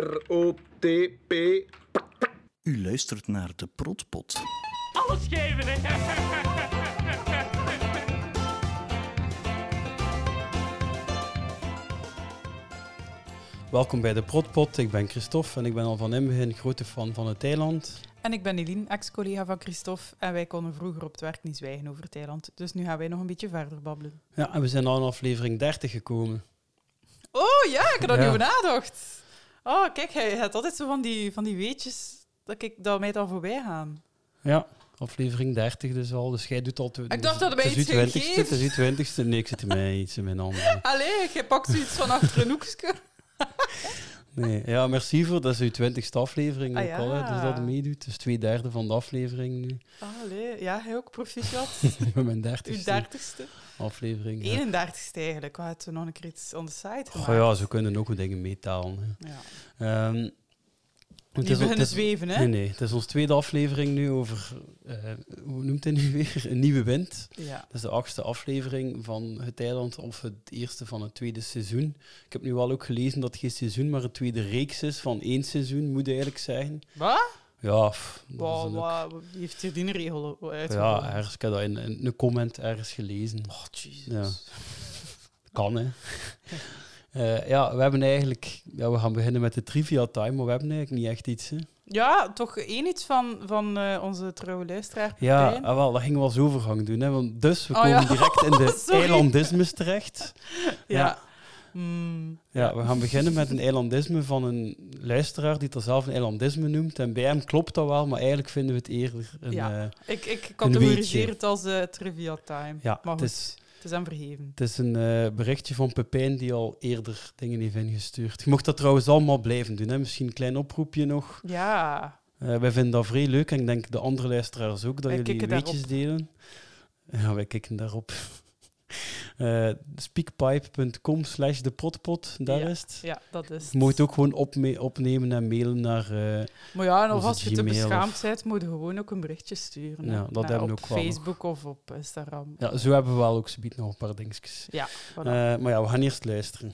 P-R-O-T-P. U luistert naar de Protpot. Alles geven, hè? Welkom bij de Protpot. Ik ben Christophe en ik ben al van in het begin grote fan van het eiland. En ik ben Eline, ex-collega van Christophe. En wij konden vroeger op het werk niet zwijgen over Thailand. Dus nu gaan wij nog een beetje verder babbelen. Ja, en we zijn al in aflevering 30 gekomen. Oh ja, ik had er Ja. niet over nagedacht. Oh, kijk, hij had altijd zo van die, van die weetjes dat, ik, dat mij dan voorbij gaan. Ja, aflevering 30 dus al. Dus jij doet al... tw- Ik dacht dat het mij is uw iets ging 20ste, geven. Het is uw 20ste. Nee, ik zit in mij iets in mijn handen. Allee, jij pakt zoiets van achter een hoekje. Nee, ja, merci voor. Dat is uw 20ste aflevering Ah, ook al, hè, ja. dus dat meedoet. Dus twee derde van de aflevering nu. Allee, ja, jij ook, proficiat. Ik ben mijn Uw 30ste dertigste. aflevering. ja. 31ste eigenlijk. We hadden nog een keer iets on the side Goh, gemaakt. ja, ze kunnen ook goed dingen meetalen. hè. Ja. Ehm, het Die is al- beginnen het is- zweven, hè? Nee, nee, het is onze tweede aflevering nu over, eh, hoe noemt hij nu weer? Een nieuwe wind. Ja. Dat is de achtste aflevering van Het Eiland, of het eerste van het tweede seizoen. Ik heb nu wel ook gelezen dat het geen seizoen, maar een tweede reeks is van één seizoen, moet je eigenlijk zeggen. Wat? Ja, pff, dat is Wow, een- wow, wie heeft hier die regel Oh, ja uitgevonden? ergens, ik heb dat in, in een comment ergens gelezen. Oh, jezus. Ja. Kan, hè. Eh, ja, we hebben eigenlijk... Ja, we gaan beginnen met de trivia time, maar we hebben eigenlijk niet echt iets, hè. Ja, toch één iets van, van eh, onze trouwe luisteraar. Ja, Pepijn. ah, wel, dat gingen we als overgang doen. Hè, want dus, we Oh, komen ja. direct in de Sorry. eilandismes terecht. ja. ja. Hmm. Ja, we gaan beginnen met een eilandisme van een luisteraar die het zelf een eilandisme noemt. En bij hem klopt dat wel, maar eigenlijk vinden we het eerder een... Ja. eh, Ik, ik weetje. categoriseer het als eh, trivia time. ja, maar het goed, is, hem vergeven. het is een eh, berichtje van Pepijn die al eerder dingen heeft ingestuurd. Je mocht dat trouwens allemaal blijven doen. Hè. Misschien een klein oproepje nog. Ja, Eh, wij vinden dat vrij leuk en ik denk de andere luisteraars ook, dat Wij jullie kikken weetjes delen. Ja, wij kijken daarop. Eh, speakpipe.com slash de potpot, daar is het. ja, dat is het. Je moet ook gewoon opme- opnemen en mailen naar... eh, Maar ja, en of onze als je te Gmail beschaamd of- bent, moet je gewoon ook een berichtje sturen. hè. Ja, dat Ja, hebben we op ook wel nog. Facebook of op Instagram. ja, zo hebben we wel ook zometeen nog een paar dingetjes. Ja, voilà. Eh, maar ja, we gaan eerst luisteren.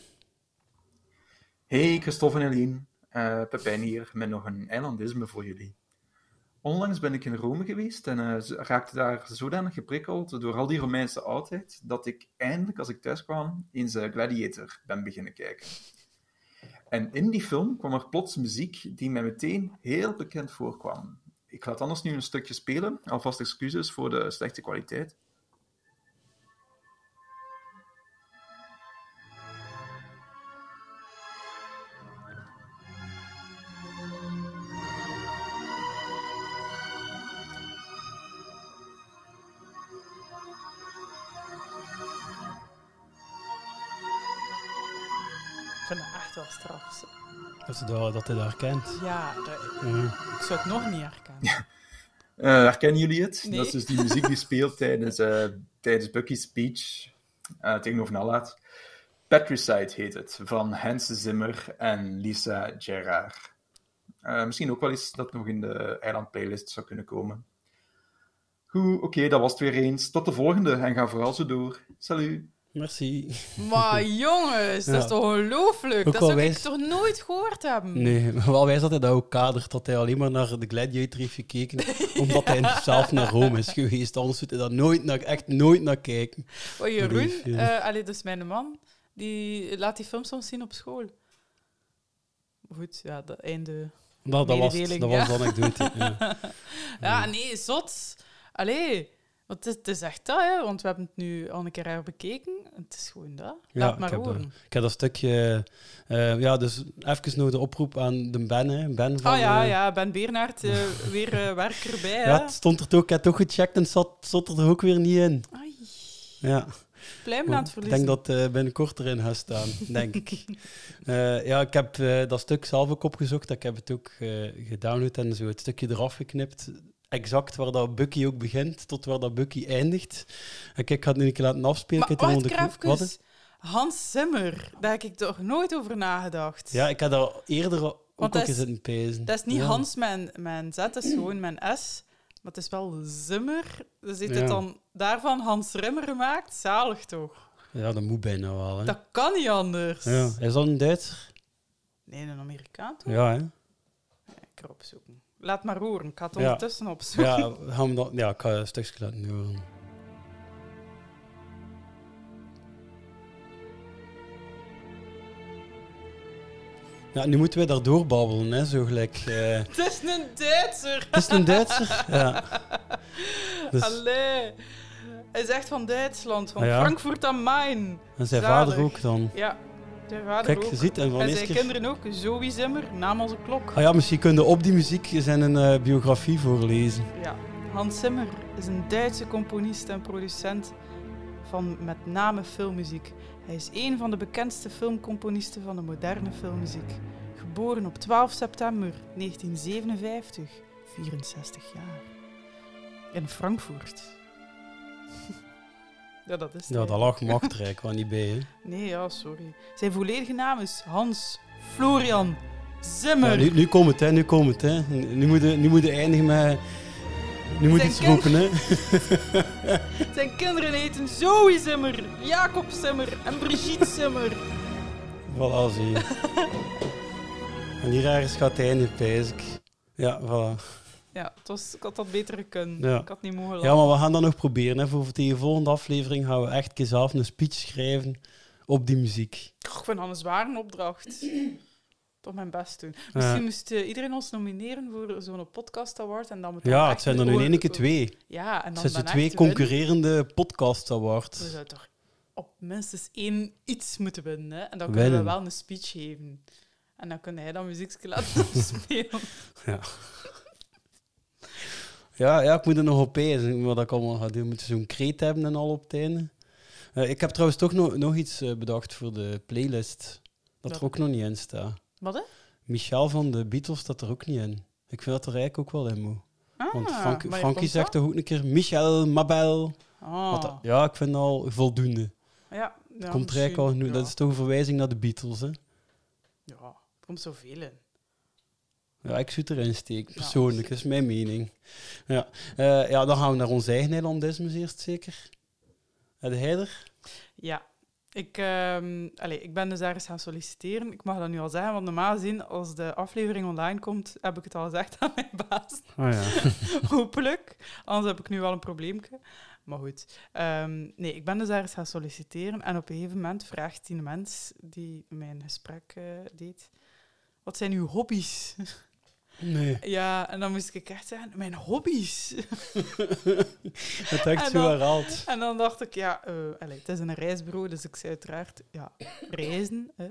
Hey, Christophe en Eline. Eh, Pepijn hier met nog een eilandisme voor jullie. Onlangs ben ik in Rome geweest en eh, z- raakte daar zodanig geprikkeld door al die Romeinse oudheid dat ik eindelijk, als ik thuis kwam, eens eh, Gladiator ben beginnen kijken. En in die film kwam er plots muziek die mij meteen heel bekend voorkwam. Ik laat anders nu een stukje spelen, alvast excuses voor de slechte kwaliteit. Ik vind dat echt wel straf. zeg. Dat hij dat, dat hij daar kent. Ja, dat- Ja. ik zou het nog niet herkennen. Eh, herkennen jullie het? Nee. Dat is dus die muziek die speelt tijdens, eh, tijdens Bucky's speech eh, tegenover Nalaat. Patricide heet het, van Hans Zimmer en Lisa Gerrard. Eh, misschien ook wel eens dat nog in de eiland playlist zou kunnen komen. Goed, oké, dat was het weer eens. Tot de volgende en ga vooral zo door. Salut! Merci. Maar jongens, dat Ja. is toch ongelooflijk? Ook Dat al zou ik wijs- toch nooit gehoord hebben? Nee, maar wel wijs dat hij dat ook kadert, dat hij alleen maar naar de Gladiator heeft gekeken, omdat hij zelf naar Rome is geweest. Anders doet hij daar nooit naar, echt nooit naar kijken. Oh, Jeroen, Brief, eh ja. allee, dus mijn man, die laat die film soms zien op school. Goed, ja, dat einde. Nou, dat was, het. Mededeling, dat was de anekdote. Ja. Ja, nee, zot. Allee, want het, het is echt dat, hè, want we hebben het nu al een keer herbekeken. Het is gewoon dat. Ja, Laat ik, maar heb dat, horen. ik heb dat stukje. eh, ja, dus even nog de oproep aan de Ben. Hè. ben van, Oh ja, eh, ja, Ben Beenaert, eh, weer eh, werk erbij. Hè. ja, het stond er toch, ik heb het toch gecheckt en het zat, zat er toch ook weer niet in. Ai, Ja. pluim aan het Ik verliezen. denk dat eh binnenkort erin gaat staan, denk ik. Eh, ja, ik heb eh, dat stuk zelf ook opgezocht. Ik heb het ook eh, gedownload en zo het stukje eraf geknipt. Exact waar dat Bucky ook begint, tot waar dat Bucky eindigt. En kijk, ik ga het nu een keer laten afspelen. maar Ik heb het wacht, onder de knop- Kraafkus, Hans Zimmer, daar heb ik toch nooit over nagedacht. Ja, ik had daar eerder ook Want al dat is- zitten pezen. Dat is niet Ja. Hans mijn, mijn Z, dat is gewoon mijn S. Maar het is wel Zimmer. Dus heeft Ja. het dan daarvan Hans Rimmer gemaakt? Zalig toch? Ja, dat moet bijna wel. Hè. Dat kan niet anders. Ja. Is dat een Duitser? Nee, een Amerikaan toch? Ja, hè? Ja, Ik ga opzoeken. Laat maar horen. Ik ga het Ja. ondertussen opzoeken. Ja, gaan we dan, ja, ik ga een stukje laten horen. Ja, nu moeten wij daardoor babbelen, hè, zo gelijk. eh. Het is een Duitser. het is een Duitser. Ja. Dus, Allee. Hij is echt van Duitsland, van Ah, ja? Frankfurt am Main. en zijn zalig. vader ook dan. Ja, zijn vader Kijk, je ook. ziet, en van En eerst zijn keer... kinderen ook. Zoe Zimmer, naam als een klok. Ah ja, misschien kunnen op die muziek zijn een eh, biografie voorlezen. Ja. Hans Zimmer is een Duitse componist en producent van met name filmmuziek. Hij is een van de bekendste filmcomponisten van de moderne filmmuziek. Geboren op 12 september 1957, 64 jaar. In Frankfurt. ja, dat is het. Ja, dat lag machtrijk wel niet bij, hè. Nee, ja, sorry. Zijn volledige naam is Hans Florian Zimmer. Ja, nu, nu komt het, hè. Nu komt het, hè. Nu moet je, nu moet je eindigen met... Nu moet je Zijn iets kind- roepen, hè. Zijn kinderen heten Zoe Zimmer, Jacob Zimmer en Brigitte Zimmer. Voilà, zie je. en hier ergens gaat hij in, pijs ik. Ja, voilà. Ja, het was, ik had dat beter gekund. Ja. Ik had niet mogen Ja, lachen. maar we gaan dat nog proberen. Hè. Voor tegen de volgende aflevering gaan we echt een keer zelf een speech schrijven op die muziek. Ik vind dat een zware opdracht. Toch mijn best doen. Misschien moest eh, iedereen ons nomineren voor zo'n podcast award. En dan Ja, het zijn er nu in één keer twee. Het Ja, en zijn dan ze dan echt twee winnen. concurrerende podcast We awards. zouden toch op minstens één iets moeten winnen. Hè? En dan kunnen Winnen. we wel een speech geven. En dan kan hij dan muziekje laten spelen. Ja, ja, ik moet er nog op pezen, wat ik allemaal ga doen. We moeten zo'n kreet hebben en al op het einde. Eh, ik heb trouwens toch nog nog iets eh, bedacht voor de playlist. Dat Wat? er ook nog niet in staat. Wat, hè? Michel van de Beatles staat er ook niet in. Ik vind dat er eigenlijk ook wel in moet. Ah, Want maar Frank- je Frankie komt zegt wel? toch ook een keer Michel, Mabel. Ah. Wat dat- ja, ik vind dat al voldoende. Ja, ja, Komt er eigenlijk al misschien, genoeg. ja. Dat is toch een verwijzing naar de Beatles, hè? Ja, er komt zoveel in. Ja, ik zou het erin steken, Ja. persoonlijk. Dat is mijn mening. Ja. Eh, ja, dan gaan we naar ons eigen eilandismes eerst zeker. Heb jij er? Ja. Ik, ehm, allee, ik ben dus ergens gaan solliciteren. Ik mag dat nu al zeggen, want normaal gezien, als de aflevering online komt, heb ik het al gezegd aan mijn baas. Ah ja. Hopelijk. Anders heb ik nu wel een probleempje. Maar goed. Ehm, nee, ik ben dus ergens gaan solliciteren. En op een gegeven moment vraagt die mens die mijn gesprek eh, deed... Wat zijn uw hobby's? Nee, ja, en dan moest ik echt zeggen, mijn hobby's? dat heb ik En zo dan- herhaald. En dan dacht ik, ja, eh, allee, het is een reisbureau, dus ik zei uiteraard, ja, reizen. Hè.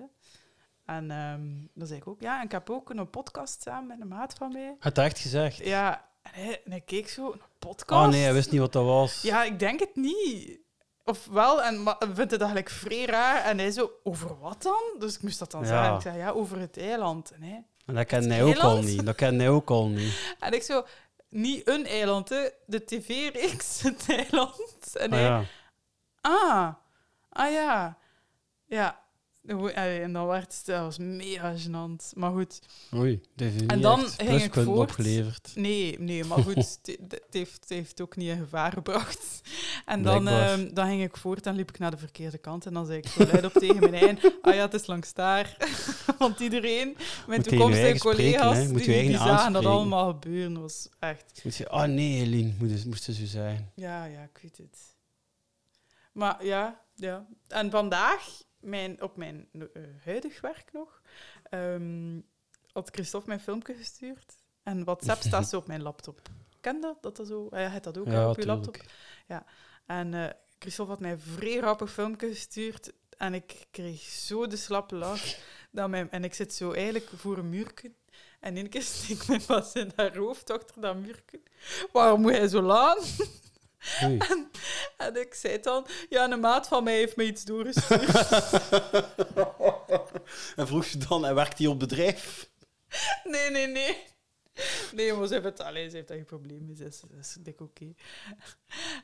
En ehm, dan zei ik ook, ja, en ik heb ook een podcast samen met een maat van mij. Had hij echt gezegd? Ja, en hij, en hij keek zo, een podcast? Oh nee, hij wist niet wat dat was. Ja, ik denk het niet. Of wel, en ma- vindt hij dat gelijk vrij raar. En hij zo, over wat dan? Dus ik moest dat dan Ja. zeggen. Ik zei, ja, over het eiland. En, hij, En dat kende Het hij ook al eiland? niet. Dat kende hij ook al niet. en ik zo, niet een eiland, hè. De tv-reeks, het eiland. En Ah, hij, ja. Ah, ah ja. Ja. Hoe- allee, En dan werd het, dat was mega gênant. Maar goed, Oei, dat Dus heeft En niet dan echt ging ik pluspunten voort. opgeleverd. nee, nee, maar goed, het- het heeft, het heeft ook niet in gevaar gebracht. En dan, Blijkbaar. ehm, dan ging ik voort en liep ik naar de verkeerde kant. En dan zei ik zo luid op tegen mijn eigen, ah ja, het is langs daar. Want iedereen, mijn Moet je je toekomstige eigen spreken, collega's, hè? Moet die, je eigen die zagen dat aanspreken. allemaal gebeuren. Dat was echt... Moet je, oh nee, Eline, moest, moest ze zo zijn. Ja, ja, ik weet het. Maar ja, ja. En vandaag, mijn, op mijn eh, huidig werk nog, ehm, had Christophe mijn filmpje gestuurd. En WhatsApp staat zo op mijn laptop. Ken dat? dat, dat zo? Ah Ja, je hebt dat ook hè, op je laptop. tuurlijk. En eh Christophe had mij een vrij grappig filmpje gestuurd. En ik kreeg zo de slappe lach. Dat mijn, en ik zit zo eigenlijk voor een muurken. En in keer steek mijn pas in haar hoofd achter dat muurken. Waarom moet hij zo laat? Oei. En ik zei dan, ja, een maat van mij heeft me iets doorgestuurd. en vroeg ze dan, en werkt hij op bedrijf? nee, nee, nee. Nee, maar ze heeft, het, allee, ze heeft daar geen probleem mee. Ze is, ze is dik oké.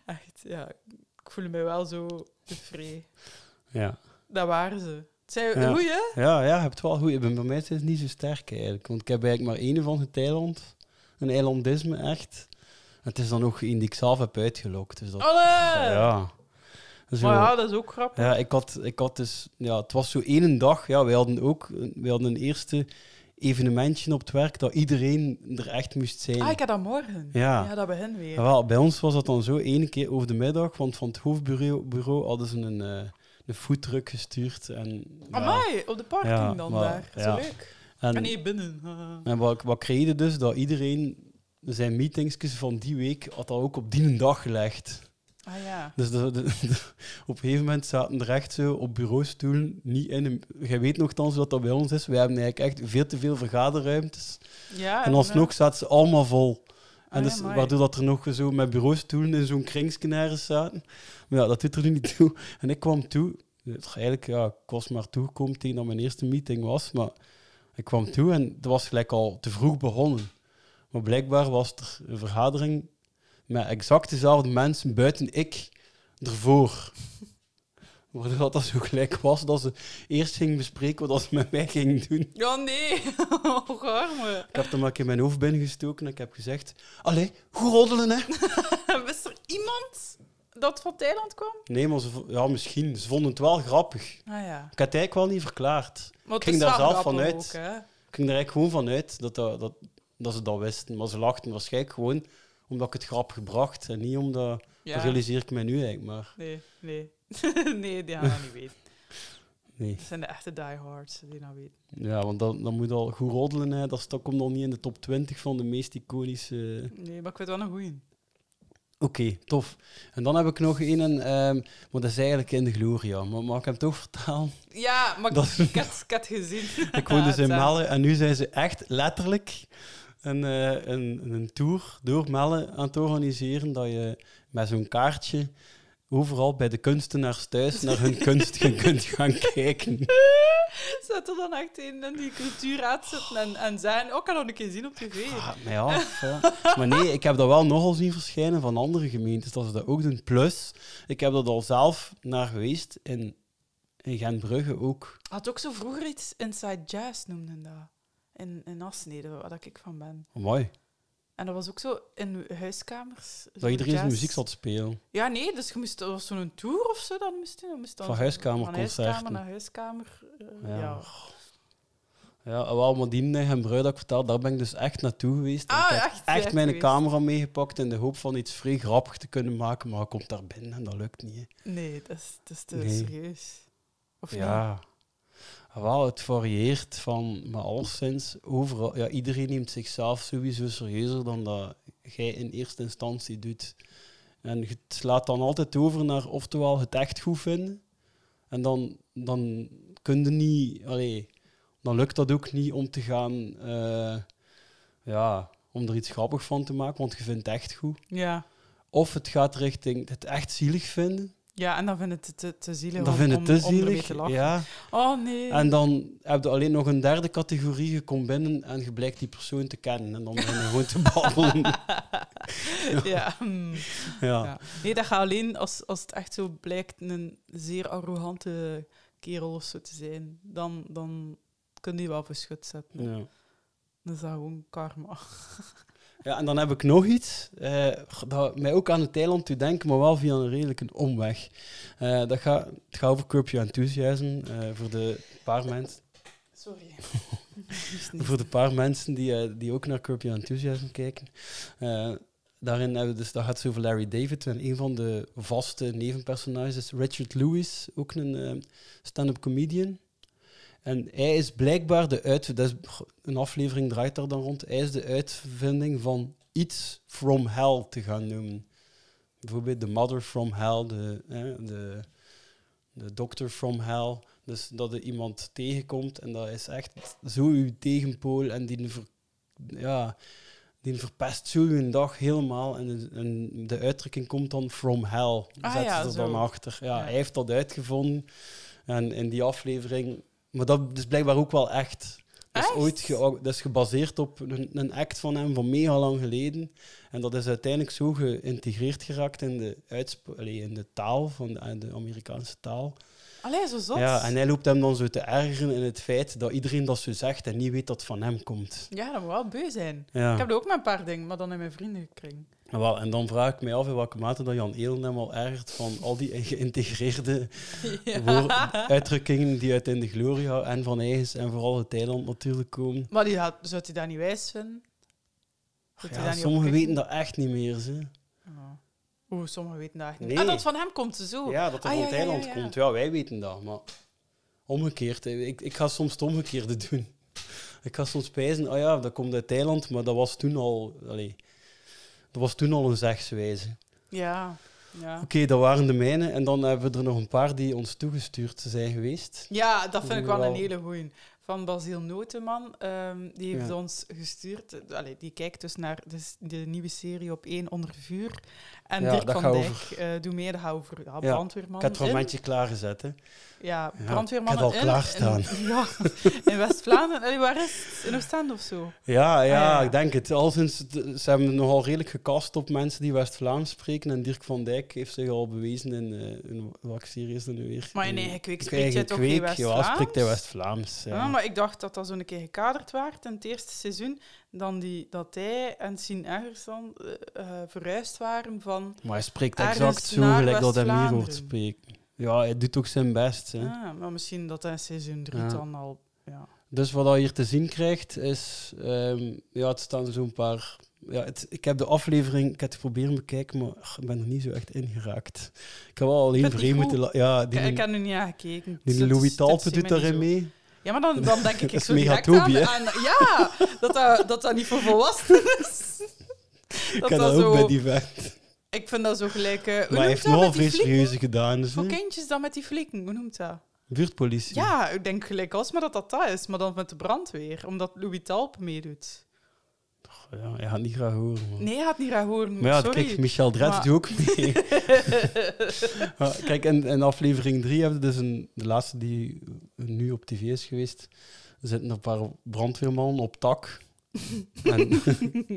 Echt, ja. Ik voel me wel zo tevreden. Ja. Dat waren ze. Het zijn Ja. goeie, hè? Ja, ja, je hebt het wel goed. Ik ben bij mij is het niet zo sterk eigenlijk. Want ik heb eigenlijk maar één van het eiland. Een eilandisme, echt. En het is dan ook één die ik zelf heb uitgelokt. Dus dat, Alle! ja. Zo. Maar Oh, ja, dat is ook grappig. Ja, ik had, ik had dus, ja, het was zo één dag. Ja, wij hadden ook wij hadden een eerste evenementje op het werk dat iedereen er echt moest zijn. Ah, ik heb dat morgen. Ja. ja dat begin weer. Ja, wel, bij ons was dat dan zo één keer over de middag, want van het hoofdbureau bureau hadden ze een, eh een foodtruck gestuurd. En, ja. Amai, op de parking Ja, dan maar- daar. Zo ja. leuk. en, Ah, nee, binnen. en wat, wat kreeg je dus? Dat iedereen zijn meetingsjes van die week had dat ook op die dag gelegd. Ah ja. Dus de- de- de- op een gegeven moment zaten er echt zo op bureaustoelen niet in. een- Jij weet nogthans wat dat bij ons is. Wij hebben eigenlijk echt veel te veel vergaderruimtes. ja eh, en alsnog zaten ze allemaal vol. En Ah, dus, amai. waardoor dat er nog zo met bureaustoelen in zo'n kringskenaris zaten. Maar ja, dat doet er nu niet toe. En ik kwam toe. Het was Eigenlijk, ja, ik was maar toegekomen tegen dat mijn eerste meeting was. Maar ik kwam toe en het was gelijk al te vroeg begonnen. Maar blijkbaar was er een vergadering met exact dezelfde mensen buiten ik ervoor. Waardoor dat dat zo gelijk was dat ze eerst gingen bespreken wat ze met mij gingen doen. Ja, nee. Och, arme. Ik heb er maar een keer mijn hoofd binnengestoken en ik heb gezegd... Allee, goed roddelen, hè? Wist er iemand dat van Thailand kwam? Nee, maar ze, vo- ja, misschien. Ze vonden het wel grappig. Ah ja. Ik had het eigenlijk wel niet verklaard. Maar het Ging is daar wel zelf grappig vanuit. ook, hè. Ik ging er eigenlijk gewoon vanuit dat, dat, dat, dat ze dat wisten. Maar ze lachten waarschijnlijk gewoon omdat ik het grap gebracht. En niet omdat... Dat Ja. realiseer ik mij nu eigenlijk, maar... Nee, nee. nee, die gaan dat niet weten. Nee. Het zijn de echte diehards die dat weten. Ja, want dan, dan moet al goed roddelen. Hè. Dat stok komt al niet in de top 20 van de meest iconische. Nee, maar ik weet wel een goeie. Oké, tof. En dan heb ik nog een, ehm maar dat is eigenlijk in de Gloria. Maar mag ik hem toch vertalen? Ja, maar ik- Dat- ik had ik had het gezien. Ik woon dus in Ja, Melle en nu zijn ze echt letterlijk een, eh, een, een tour door Melle aan het organiseren. Dat je met zo'n kaartje overal bij de kunstenaars thuis naar hun kunst kunt gaan kijken. Zet er dan echt in en die cultuurraad zitten en, en zijn. Ook kan dat een keer zien op tv. Ah, maar ja, ja. maar nee, ik heb dat wel nogal zien verschijnen van andere gemeentes, dat ze dat ook doen. Plus, ik heb dat al zelf naar geweest in, in Gentbrugge ook. Had ook zo vroeger iets Inside Jazz noemden dat. In, in Asnede, waar dat ik van ben. Mooi. En dat was ook zo in huiskamers. zo Dat iedereen zijn jazz. muziek zat spelen. Ja, nee, dus je moest, er was zo'n tour of zo dan moest je. Dan moest dan Van zo- huiskamerconcerten. Van huiskamer naar huiskamer. eh, Ja. ja. Ja, en wel, maar die in Gentbrugge dat ik vertel, daar ben ik dus echt naartoe geweest. En Ah, ik heb echt? echt Echt mijn geweest? camera meegepakt in de hoop van iets vrij grappig te kunnen maken, maar je komt daar binnen en dat lukt niet. hè. Nee, dat is, dat is te Nee. serieus. Of niet? Ja. Wel, het varieert van, maar alleszins, overal, ja, iedereen neemt zichzelf sowieso serieuzer dan dat jij in eerste instantie doet. En je slaat dan altijd over naar oftewel het echt goed vinden, en dan, dan kun je niet, allee, dan lukt dat ook niet om te gaan, eh, ja, om er iets grappig van te maken, want je vindt het echt goed. Ja. Of het gaat richting het echt zielig vinden, ja, en dan vind ik het te, te zielig dan om, vind je om- het te om ermee zielig. te lachen. ja. Oh nee. En dan heb je alleen nog een derde categorie. Je komt binnen en je blijkt die persoon te kennen. En dan begin je gewoon te babbelen. ja. hmm. Ja. Ja. Nee, dat gaat alleen als, als het echt zo blijkt een zeer arrogante kerel of zo te zijn. Dan, dan kun je die wel voor schut zetten. Ja. Dan is dat gewoon karma. ja, en dan heb ik nog iets. eh, dat mij ook aan het eiland toe denken, maar wel via een redelijke omweg. Eh, dat gaat, het gaat over Curb Your Enthusiasm. eh, voor, de paar mensen, Sorry. voor de paar mensen die, eh, die ook naar Curb Your Enthusiasm kijken. Eh, daarin hebben we dus, dat gaat zo over Larry David. En een van de vaste nevenpersonages is Richard Lewis, ook een eh, stand-up comedian. En hij is blijkbaar de uit... Dat is, een aflevering draait daar dan rond. Hij is de uitvinding van iets from hell te gaan noemen. Bijvoorbeeld de mother from hell, de, hè, de, de doctor from hell. Dus dat er iemand tegenkomt en dat is echt zo uw tegenpool en die, ver- ja, die verpest zo uw dag helemaal. En, en de uitdrukking komt dan from hell. Ah Zet ja, ze er zo. dan achter. Ja, Ja. Hij heeft dat uitgevonden en in die aflevering. Maar dat is blijkbaar ook wel echt. Dat is, Echt? ooit ge- dat is gebaseerd op een, een act van hem van mega lang geleden. En dat is uiteindelijk zo geïntegreerd geraakt in de, uitsp- allee, in de taal, van de, de Amerikaanse taal, Allee, zo zot. Ja, en hij loopt hem dan zo te ergeren in het feit dat iedereen dat zo zegt en niet weet dat het van hem komt. Ja, dat moet wel beu zijn. Ja. Ik heb er ook mijn paar dingen, maar dan in mijn vriendenkring. En wel, en dan vraag ik mij af in welke mate dat Jan Elen hem al ergert van al die geïntegreerde Ja. woor- uitdrukkingen die uit In de Gloria en van Eigens en vooral het eiland natuurlijk komen. Maar die had, zou hij dat niet wijs vinden? Zou hij Ja, daar niet op sommigen klikken? weten dat echt niet meer. Ze. Oeh, sommigen weten dat echt niet. Nee. Ah, dat van hem komt zo. Ja, dat er Ah, van ja, het ja, ja, eiland ja. komt. Ja, wij weten dat. Maar omgekeerd, hè. ik, ik ga soms het omgekeerde doen. Ik ga soms pijzen, ah ja, dat komt uit Thailand, maar dat was toen al, allee, dat was toen al een zegswijze. Ja, ja. Oké, dat waren de mijne. En dan hebben we er nog een paar die ons toegestuurd zijn geweest. Ja, dat vind ik wel Wel. een hele goeie. Van Basiel Noteman. ehm, die heeft Ja. ons gestuurd. eh, Allee, die kijkt dus naar de, s- de nieuwe serie op 1 onder vuur. En Ja, Dirk dat van gaat Dijk, eh doe meer, dat gaat over ja, Ja, brandweerman. Ik had het momentje klaargezet. Hè. Ja, Ja, brandweerman. ik had al klaarstaan. ja, in West-Vlaanderen. Allee, Waar is het? In Oostende of zo? Ja, ja, Ah, ja. ik denk het. Al sinds, het- ze hebben nogal redelijk gekast op mensen die West-Vlaams spreken. En Dirk van Dijk heeft zich al bewezen in, eh in welke serie is dat nu weer? Maar in Eh, eigen kweek Ik spreekt eigen jij toch geen kweek, ja, West-Vlaams? spreekt hij West-Vlaams. Ja. Ah, maar ik dacht dat dat zo'n keer gekaderd werd in het eerste seizoen. Dan die, dat hij en Sien Eggers dan eh, eh, verhuisd waren van... Maar hij spreekt Ergens exact zo naar gelijk dat hij hem hier hoort West-Vlaanderen. spreken. Ja, hij doet ook zijn best. Hè. Ah, maar misschien dat hij in seizoen 3 Ja. dan al... Ja. Dus wat je hier te zien krijgt, is... ehm, ja, het staan zo'n paar... Ja, het- ik heb de aflevering, ik heb het proberen bekijken, maar ach, ik ben er niet zo echt in geraakt. Ik heb wel alleen vind het niet vreemd moeten... la- Ja, die, Ik, ik heb nu niet aangekeken. die Dus het Louis is- het is Talpe doet mij niet daarin zo. mee. Ja, maar dan, dan denk ik, ik is zo mega direct Toby, aan, aan... Ja, dat dat, dat dat niet voor volwassenen is. Ik Dat heb dat dat ook zo, bij die vent. Ik vind dat zo gelijk... eh, hoe Maar hij noemt heeft dat nogal met veel die flieken? serieuze gedaan. Dus, Voor hè. kindjes dan met die flikken, hoe noemt dat? Buurtpolitie. Ja, ik denk gelijk als maar dat dat dat is, maar dan met de brandweer, omdat Louis Talp meedoet. ja, hij gaat niet graag horen. man. Nee, hij had niet graag horen. Maar ja, Sorry. kijk, Michel Dretz Maar- doet ook mee. Ja, kijk, in, in aflevering 3 hebben we dus een, de laatste die nu op tv is geweest. Er zitten een paar brandweermannen op tak. en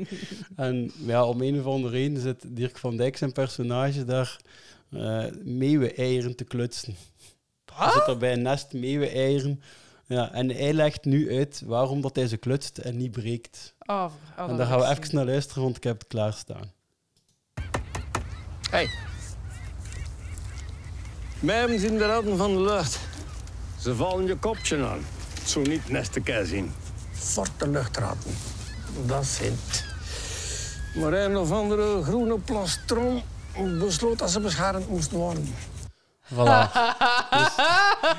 en ja, om een of andere reden zit Dirk van Dijk zijn personage daar eh meeuwen-eieren te klutsen. Hij zit daar bij een nest meeuwen-eieren. Ja, en hij legt nu uit waarom dat hij ze klutst en niet breekt. Ah, voor- ah, en dat daar gaan we wil ik even naar luisteren, want ik heb het klaarstaan. Mijmen zijn de ratten van de lucht. Ze vallen je kopje aan. Zo niet nest te keer zien. Forte luchtratten. Dat vindt. Maar een of andere groene plastron besloot dat ze beschermd moest worden. Voilà. Dus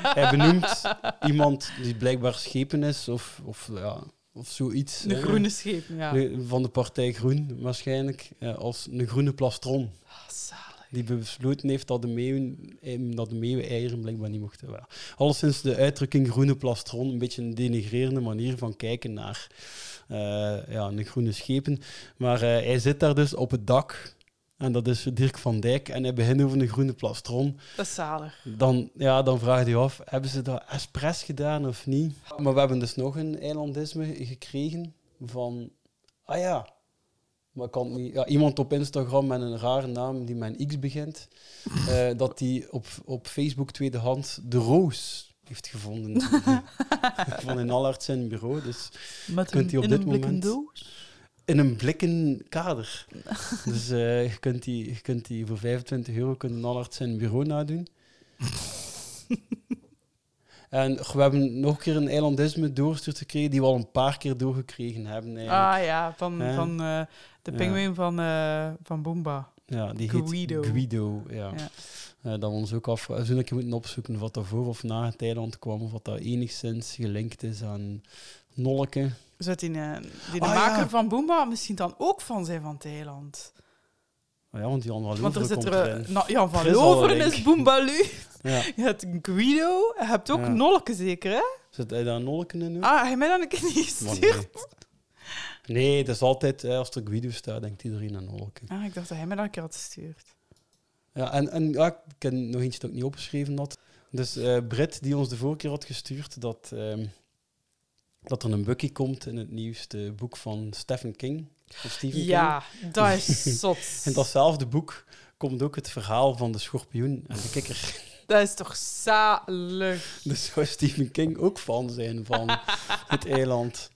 hij benoemt iemand die blijkbaar schepen is of, of, ja, of zoiets. zien. De hè. groene scheep, ja. Nu, Van de partij Groen waarschijnlijk. eh, Als een groene plastron. Ah, zalig. Die besloten heeft dat de meeuwen, eh, dat de meeuwen eieren blijkbaar niet mochten. Ja. Alleszins de uitdrukking groene plastron een beetje een denigrerende manier van kijken naar eh, ja, de groene schepen. Maar eh, hij zit daar dus op het dak. En dat is Dirk van Dijk. En hij begint over een groene plastron. Dat is zalig. Dan, ja, dan vraag je af, hebben ze dat expres gedaan of niet? Maar we hebben dus nog een eilandisme gekregen van... Ah ja, maar ik kan het niet... Ja, iemand op Instagram met een rare naam die met een X begint, eh, dat die op, op Facebook tweedehand de roos heeft gevonden. van in Allard zijn bureau, dus Met Kunt die op in dit een blikken moment- doos. in een blikken kader. Dus eh, je, kunt die, je kunt die voor 25 euro kunt een Allard zijn bureau nadoen. en goh, we hebben nog een keer een eilandisme doorgestuurd gekregen, die we al een paar keer doorgekregen hebben. eigenlijk. Ah ja, van, Hè? van eh, de Ja. pinguïn van, eh van Boomba. ja, die heet Guido. Guido. ja. Ja. Eh, dat we ons ook af... We zullen een keer moeten opzoeken of wat er voor of na het eiland kwam, of wat dat enigszins gelinkt is aan Nolke. Zou die, eh, die de Ah, ja. maker van Boomba misschien dan ook van zijn van Thailand? Oh ja, want Jan van Want er Loveren zit komt er... erin. eh, Nou, Jan van Er is al een Loveren link. is Boomba Lu. Ja. Je hebt Guido. Je hebt ook Ja. Nolke zeker, hè? Zit hij daar Nolke in? ook? Ah, hij heeft mij dan een keer niet Maar gestuurd. nee. nee, het is altijd, hè, als er Guido staat, denkt iedereen aan Holken. Ah, ik dacht dat hij mij dan een keer had gestuurd. Ja, en, en ja, ik heb nog eentje dat ik niet opgeschreven had. Dus eh Britt, die ons de vorige keer had gestuurd dat, ehm, dat er een Bucky komt in het nieuwste boek van Stephen King. Of Stephen King. Ja, dat is zot. In datzelfde boek komt ook het verhaal van de schorpioen en de kikker. Dat is toch zalig. Dus zou Stephen King ook fan zijn van het eiland.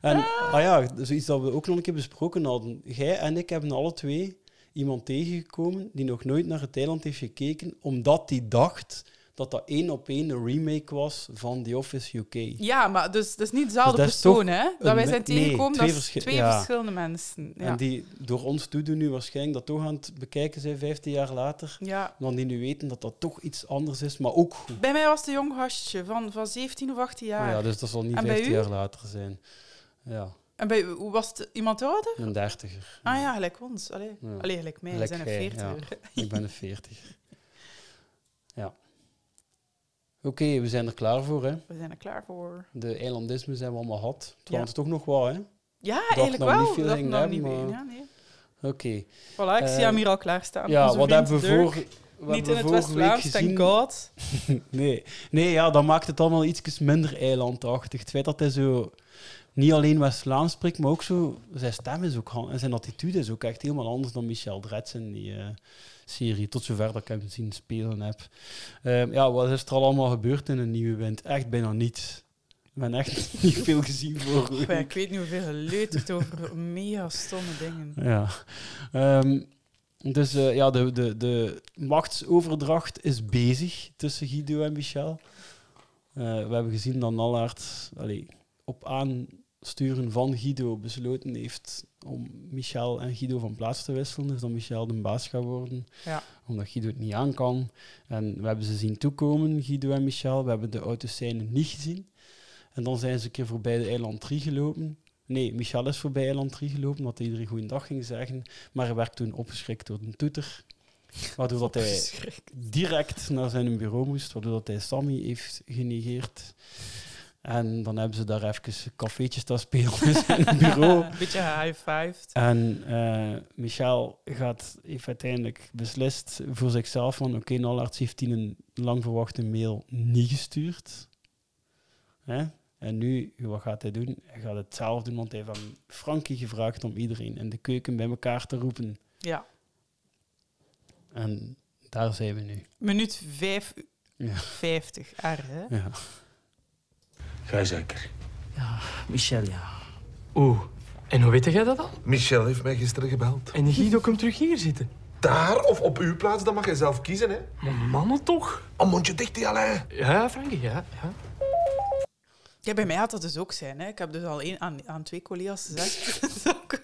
En ah ja, zoiets dat we ook nog een keer besproken hadden. Jij en ik hebben alle twee iemand tegengekomen die nog nooit naar het eiland heeft gekeken, omdat die dacht dat dat één op één een remake was van The Office UK. Ja, maar dus, dat is niet dezelfde Dus dat is persoon, toch hè? Dat een wij me- zijn nee, tegengekomen, twee dat is verschi- twee ja. verschillende mensen. Ja. En die door ons toedoen nu waarschijnlijk dat toch aan het bekijken zijn 15 jaar later. ja. Dan die nu weten dat dat toch iets anders is, maar ook goed. Bij mij was het een jong gastje van, van 17 of 18 jaar. Maar ja, dus dat zal niet En bij 15 u? jaar later zijn. Ja, En bij hoe was het iemand ouder? een dertiger. Ah ja, gelijk ons. Allee, Ja. Allee gelijk mij. Gelijk we zijn jij, een 40. Ik ben een veertiger. Ja. Oké, we zijn er klaar voor, hè. We zijn er klaar voor. De eilandismen zijn we allemaal gehad. Het Ja. waren er toch nog wel, hè. Oké. Ja, Dat eigenlijk nog wel. niet veel dat dingen nog hebben, niet maar- meer. Ja, nee. Voilà, ik Eh, zie hem hier al klaarstaan. Ja, Onze wat vriend hebben we Dirk. voor... we Niet hebben in het vorige week West-Vlaams, thank god. Nee. nee, ja, dat maakt het allemaal iets minder eilandachtig. Het feit dat hij zo niet alleen West-Vlaams spreekt, maar ook zo... Zijn stem is ook... han- En zijn attitude is ook echt helemaal anders dan Michel Dretz in die eh, serie. Tot zover dat ik hem zien spelen heb. Ehm, ja, wat is er al allemaal gebeurd in een nieuwe wind? Echt bijna niets. Ik ben echt niet veel gezien voor Oh ja, ik weet niet hoeveel geleuterd over mega stomme dingen. Ja. Ehm, dus eh, ja, de, de, de machtsoverdracht is bezig tussen Guido en Michel. Eh, we hebben gezien dat Nallaert allee, op aansturen van Guido besloten heeft om Michel en Guido van plaats te wisselen. Dus dat Michel de baas gaat worden, Ja. omdat Guido het niet aan kan. En we hebben ze zien toekomen, Guido en Michel. We hebben de autoscène niet gezien. En dan zijn ze een keer voorbij de eiland 3 gelopen. Nee, Michel is voorbij eiland 3 gelopen, omdat hij iedereen goeiedag ging zeggen. Maar hij werd toen opgeschrikt door een toeter. Waardoor dat hij direct naar zijn bureau moest, waardoor dat hij Sammy heeft genegeerd. En dan hebben ze daar even cafeetjes te spelen in zijn bureau. Beetje high-fived. En eh, Michel gaat, heeft uiteindelijk beslist voor zichzelf van oké, Nollarts heeft die een lang verwachte mail niet gestuurd. Hè? En nu, wat gaat hij doen? Hij gaat het zelf doen, want hij heeft aan Frankie gevraagd om iedereen in de keuken bij elkaar te roepen. Ja, En daar zijn we nu. minuut 5, Ja. 50 R, hè? Ja. Gij zeker. Michel, ja. Oeh, en hoe weet jij dat al? Michel heeft mij gisteren gebeld. En Guido komt terug hier zitten. Daar of op uw plaats, dat mag jij zelf kiezen, hè? Maar mannen toch? Een mondje dicht, die Alain. Ja, Frankie, ja. ja. Ja, bij mij had dat dus ook zijn. Hè. Ik heb dus al één, aan, aan twee collega's gezegd dat, ik,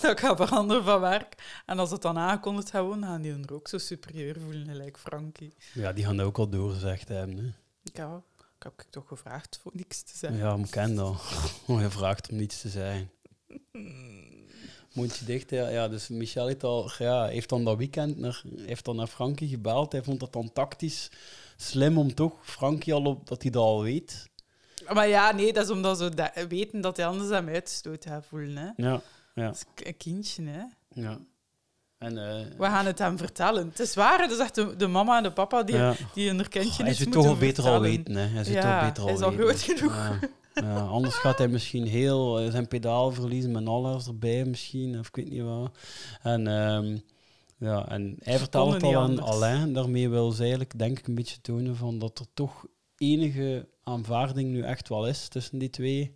dat ik ga veranderen van werk. En als het dan aangekondigd gaat worden, gaan die hun er ook zo superieur voelen, gelijk Frankie. ja, die gaan dat ook al doorzegd hebben. Hè? Ik heb, ik heb toch gevraagd voor niks te zeggen. Ja, ik ken dat. Oh, je vraagt om niets te zeggen. Mondje dicht, ja. ja dus Michel heeft, al, ja, heeft dan dat weekend naar, heeft dan naar Frankie gebeld. Hij vond dat dan tactisch slim om toch Frankie al op, dat hij dat al weet. Maar ja, nee, dat is omdat ze da- weten dat hij anders hem uitstoot gaat voelen. Hè. Ja, ja, Dat is k- een kindje, hè. ja. En, eh, We gaan het hem vertellen. Het is waar, het is echt de, de mama en de papa die, ja. Oh, die hun kindje Hij iets zou het moeten toch al beter al vertellen. weten, hè. Hij zou het Ja, toch beter al hij is al weten. groot genoeg. Ja. Ja, anders gaat hij misschien heel eh, zijn pedaal verliezen met alles erbij misschien, of ik weet niet wat. En, ehm, ja, en hij Ze vertelt het konden al niet aan anders. Alain. Daarmee wil ze eigenlijk, denk ik, een beetje tonen van dat er toch enige aanvaarding nu echt wel is tussen die twee.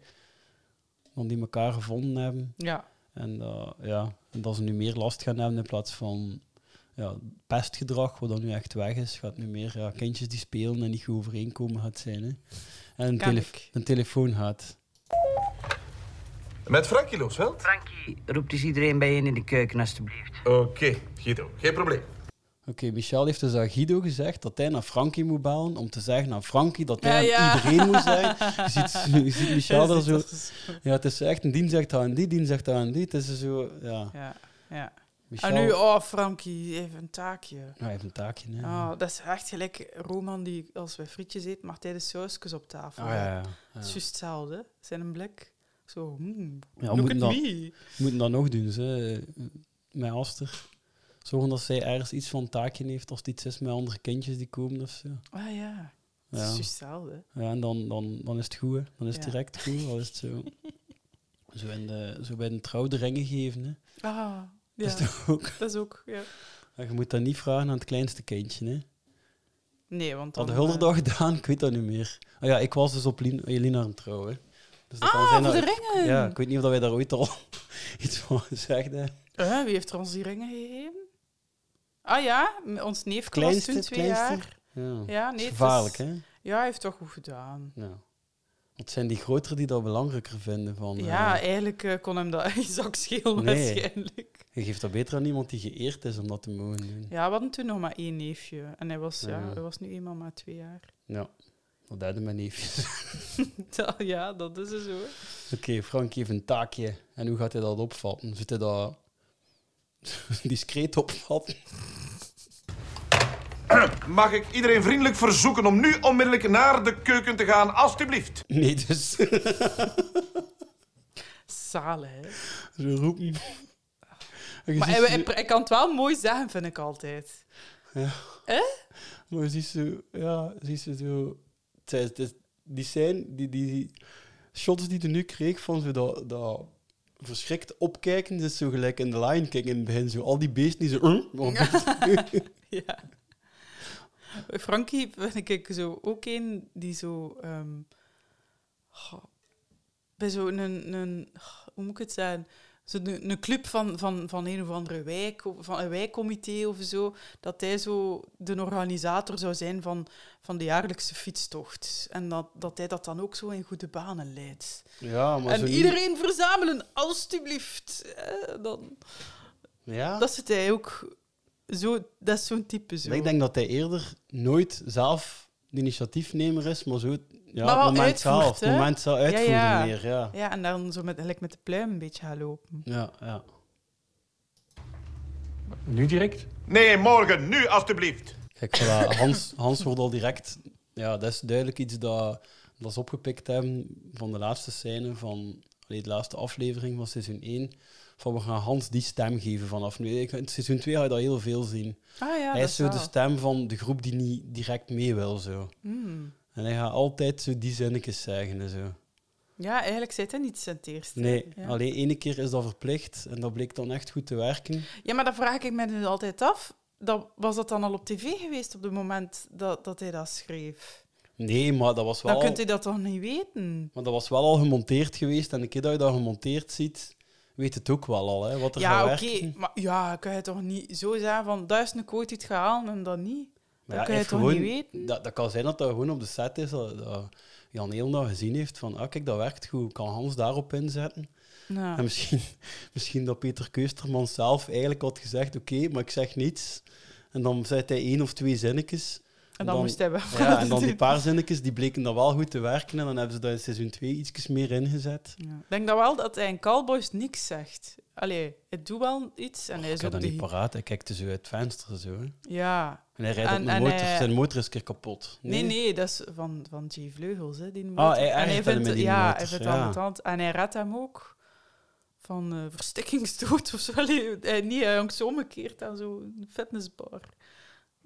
Want die elkaar gevonden hebben. Ja, En eh, ja, en dat ze nu meer last gaan hebben in plaats van ja, pestgedrag, wat dan nu echt weg is, gaat nu meer ja, kindjes die spelen en niet goed overeenkomen gaat zijn. Hè. En een, Kan telef- ik. een telefoon gaat. Met Frankie Loosveld? Frankie, roept eens iedereen bijeen in de keuken, alstublieft. Oké, Guido, geen probleem. Oké, Michel heeft dus aan Guido gezegd dat hij naar Frankie moet bellen om te zeggen aan Frankie dat hij Ja, aan ja. iedereen moet zeggen. Je ziet, je ziet Michel Hij daar zit zo... er zo- Ja, het is echt een dien zegt dat aan die, dien zegt dat aan die. Het is zo... Ja, Ja, ja. Michel... En nu, oh Frankie, even een taakje. Ja, hij heeft een taakje, hè. Oh, dat is echt gelijk Roman die als wij frietjes eet, mag hij de sausjes op tafel. Ah, ja, ja, ja. Het is juist hetzelfde. Zijn een blik. Zo, hmm, Ja, we look moeten at Nou, dan- me. We moeten dat nog doen, ze. Met Aster. Zorgen dat zij ergens iets van taakje heeft als het iets is met andere kindjes die komen of zo. Ah ja, het is Ja, juist hetzelfde. ja en dan, dan, dan is het goed, hè. Dan is het Ja. direct goed, al is het zo... Zo, in de, zo bij een trouw de ringen geven, hè. Ah, ja, Dat is toch ook... dat is ook, ja. Je moet dat niet vragen aan het kleinste kindje, hè. Nee, want dan... eh, Had Hulder dat gedaan? Ik weet dat niet meer. Ah ja, ik was dus op Lien- Elina aan het trouwen. Dus dat kan Ah, zijn voor dat de ik- ringen! Ja, ik weet niet of dat wij daar ooit al iets van gezegd hebben. Eh, wie heeft er ons die ringen gegeven? Ah ja, m- ons neef was Kleinste, toen twee kleinste. jaar. Ja. Ja, Dat is nee, het is- gevaarlijk, hè? Ja, hij heeft toch goed gedaan. Ja. Want Het zijn die grotere die dat belangrijker vinden. Van, eh, Ja, eigenlijk eh, kon hem dat in zak schelen Nee. waarschijnlijk. je geeft dat beter aan iemand die geëerd is om dat te mogen doen. Ja, we hadden toen nog maar één neefje. En hij was, ja. Ja. hij was nu eenmaal maar twee jaar. Ja, dat deden mijn neefjes. Dat- ja, dat is dus hoor. Oké, Frank heeft een taakje. En hoe gaat hij dat opvatten? Zit hij dat discreet opvatten? Mag ik iedereen vriendelijk verzoeken om nu onmiddellijk naar de keuken te gaan, alstublieft? Nee, dus Zalig, hè? ze roepen. En je Maar ziet hij, ze- hij- hij kan het wel mooi zeggen, vind ik altijd. Maar je ziet ze, ja, je ziet ze zo. het zijn- het is- die zijn, die, die, die shots die hij nu kreeg van zo dat, dat verschrikt opkijken, dat is zo gelijk in de Lion King in het begin. Zo, al die beesten die zo. Ja. Frankie vind ik zo ook een die zo... ehm, goh, bij zo'n... Een, een, goh, hoe moet ik het zeggen? Zo'n een club van, van, van een of andere wijk, of van een wijkcomité of zo, dat hij zo de organisator zou zijn van, van de jaarlijkse fietstocht. En dat, dat hij dat dan ook zo in goede banen leidt. Ja, maar zo en niet- iedereen verzamelen, alstublieft. Eh, dan, Ja? dat zit hij ook... Zo, dat is zo'n type zo. Maar Ik denk dat hij eerder nooit zelf de initiatiefnemer is, maar zo. Ja, Maar wel het moment uitvoert, zelf. Het hè? moment zelf uitvoeren ja. meer, ja. Ja, en dan zo met, gelijk met de pluim een beetje gaan lopen. Ja, ja. Nu direct? Nee, morgen, nu alstublieft. Kijk, voilà, Hans, Hans wordt al direct. Ja, dat is duidelijk iets dat, dat ze opgepikt hebben van de laatste scène van allee, de laatste aflevering van seizoen 1. Van we gaan Hans die stem geven vanaf nu. Ik- In seizoen 2 ga je dat heel veel zien. Ah ja, hij dat is zo dus- de wel. stem van de groep die niet direct mee wil. Zo. Hmm. En hij gaat altijd zo die zinnetjes zeggen en zo. Ja, eigenlijk zei hij niet zijn eerste. Nee, Ja. alleen ene keer is dat verplicht en dat bleek dan echt goed te werken. Ja, maar dat vraag ik me nu altijd af. Dat, was dat dan al op tv geweest op het moment dat, dat hij dat schreef? Nee, maar dat was wel, Dan al, kunt u dat toch niet weten? maar dat was wel al gemonteerd geweest. En de keer dat je dat gemonteerd ziet, weet het ook wel al, hè, wat er Ja, gaat oké. werken. Maar ja, kan je toch niet zo zeggen van dat is een quote die het gaat halen en dat niet? Maar Dat hij kan je heeft toch gewoon- niet weten? Dat, dat kan zijn dat dat gewoon op de set is, dat, dat Jan heel nou gezien heeft van, ah, kijk, dat werkt goed, kan Hans daarop inzetten? Nou, En misschien, misschien dat Peter Keusterman zelf eigenlijk had gezegd, oké, maar ik zeg niets. En dan zet hij één of twee zinnetjes. en dan, moest hij wel. Ja, en dan die paar zinnetjes, die bleken dan wel goed te werken. En dan hebben ze dat in seizoen 2 ietsjes meer ingezet. Ja. Ik denk dat wel dat hij in Cowboys niks zegt. Allee, het doet wel iets en hij Ik is heb ook dat niet de... paraat. Hij kijkt dus uit het venster zo. hè. Ja, En hij rijdt En- op en een motor. hij- Zijn motor is een keer kapot. Nee, nee, dat is van, van J. Vleugels, hè, die motor. Ah, hij En ergert hem vindt, met die ja, motor, hij vindt ja. het ambetant. En hij redt hem ook van eh verstikkingsdood of zo. Allee, Hij, niet, hij hangt zo omgekeerd aan zo'n fitnessbar.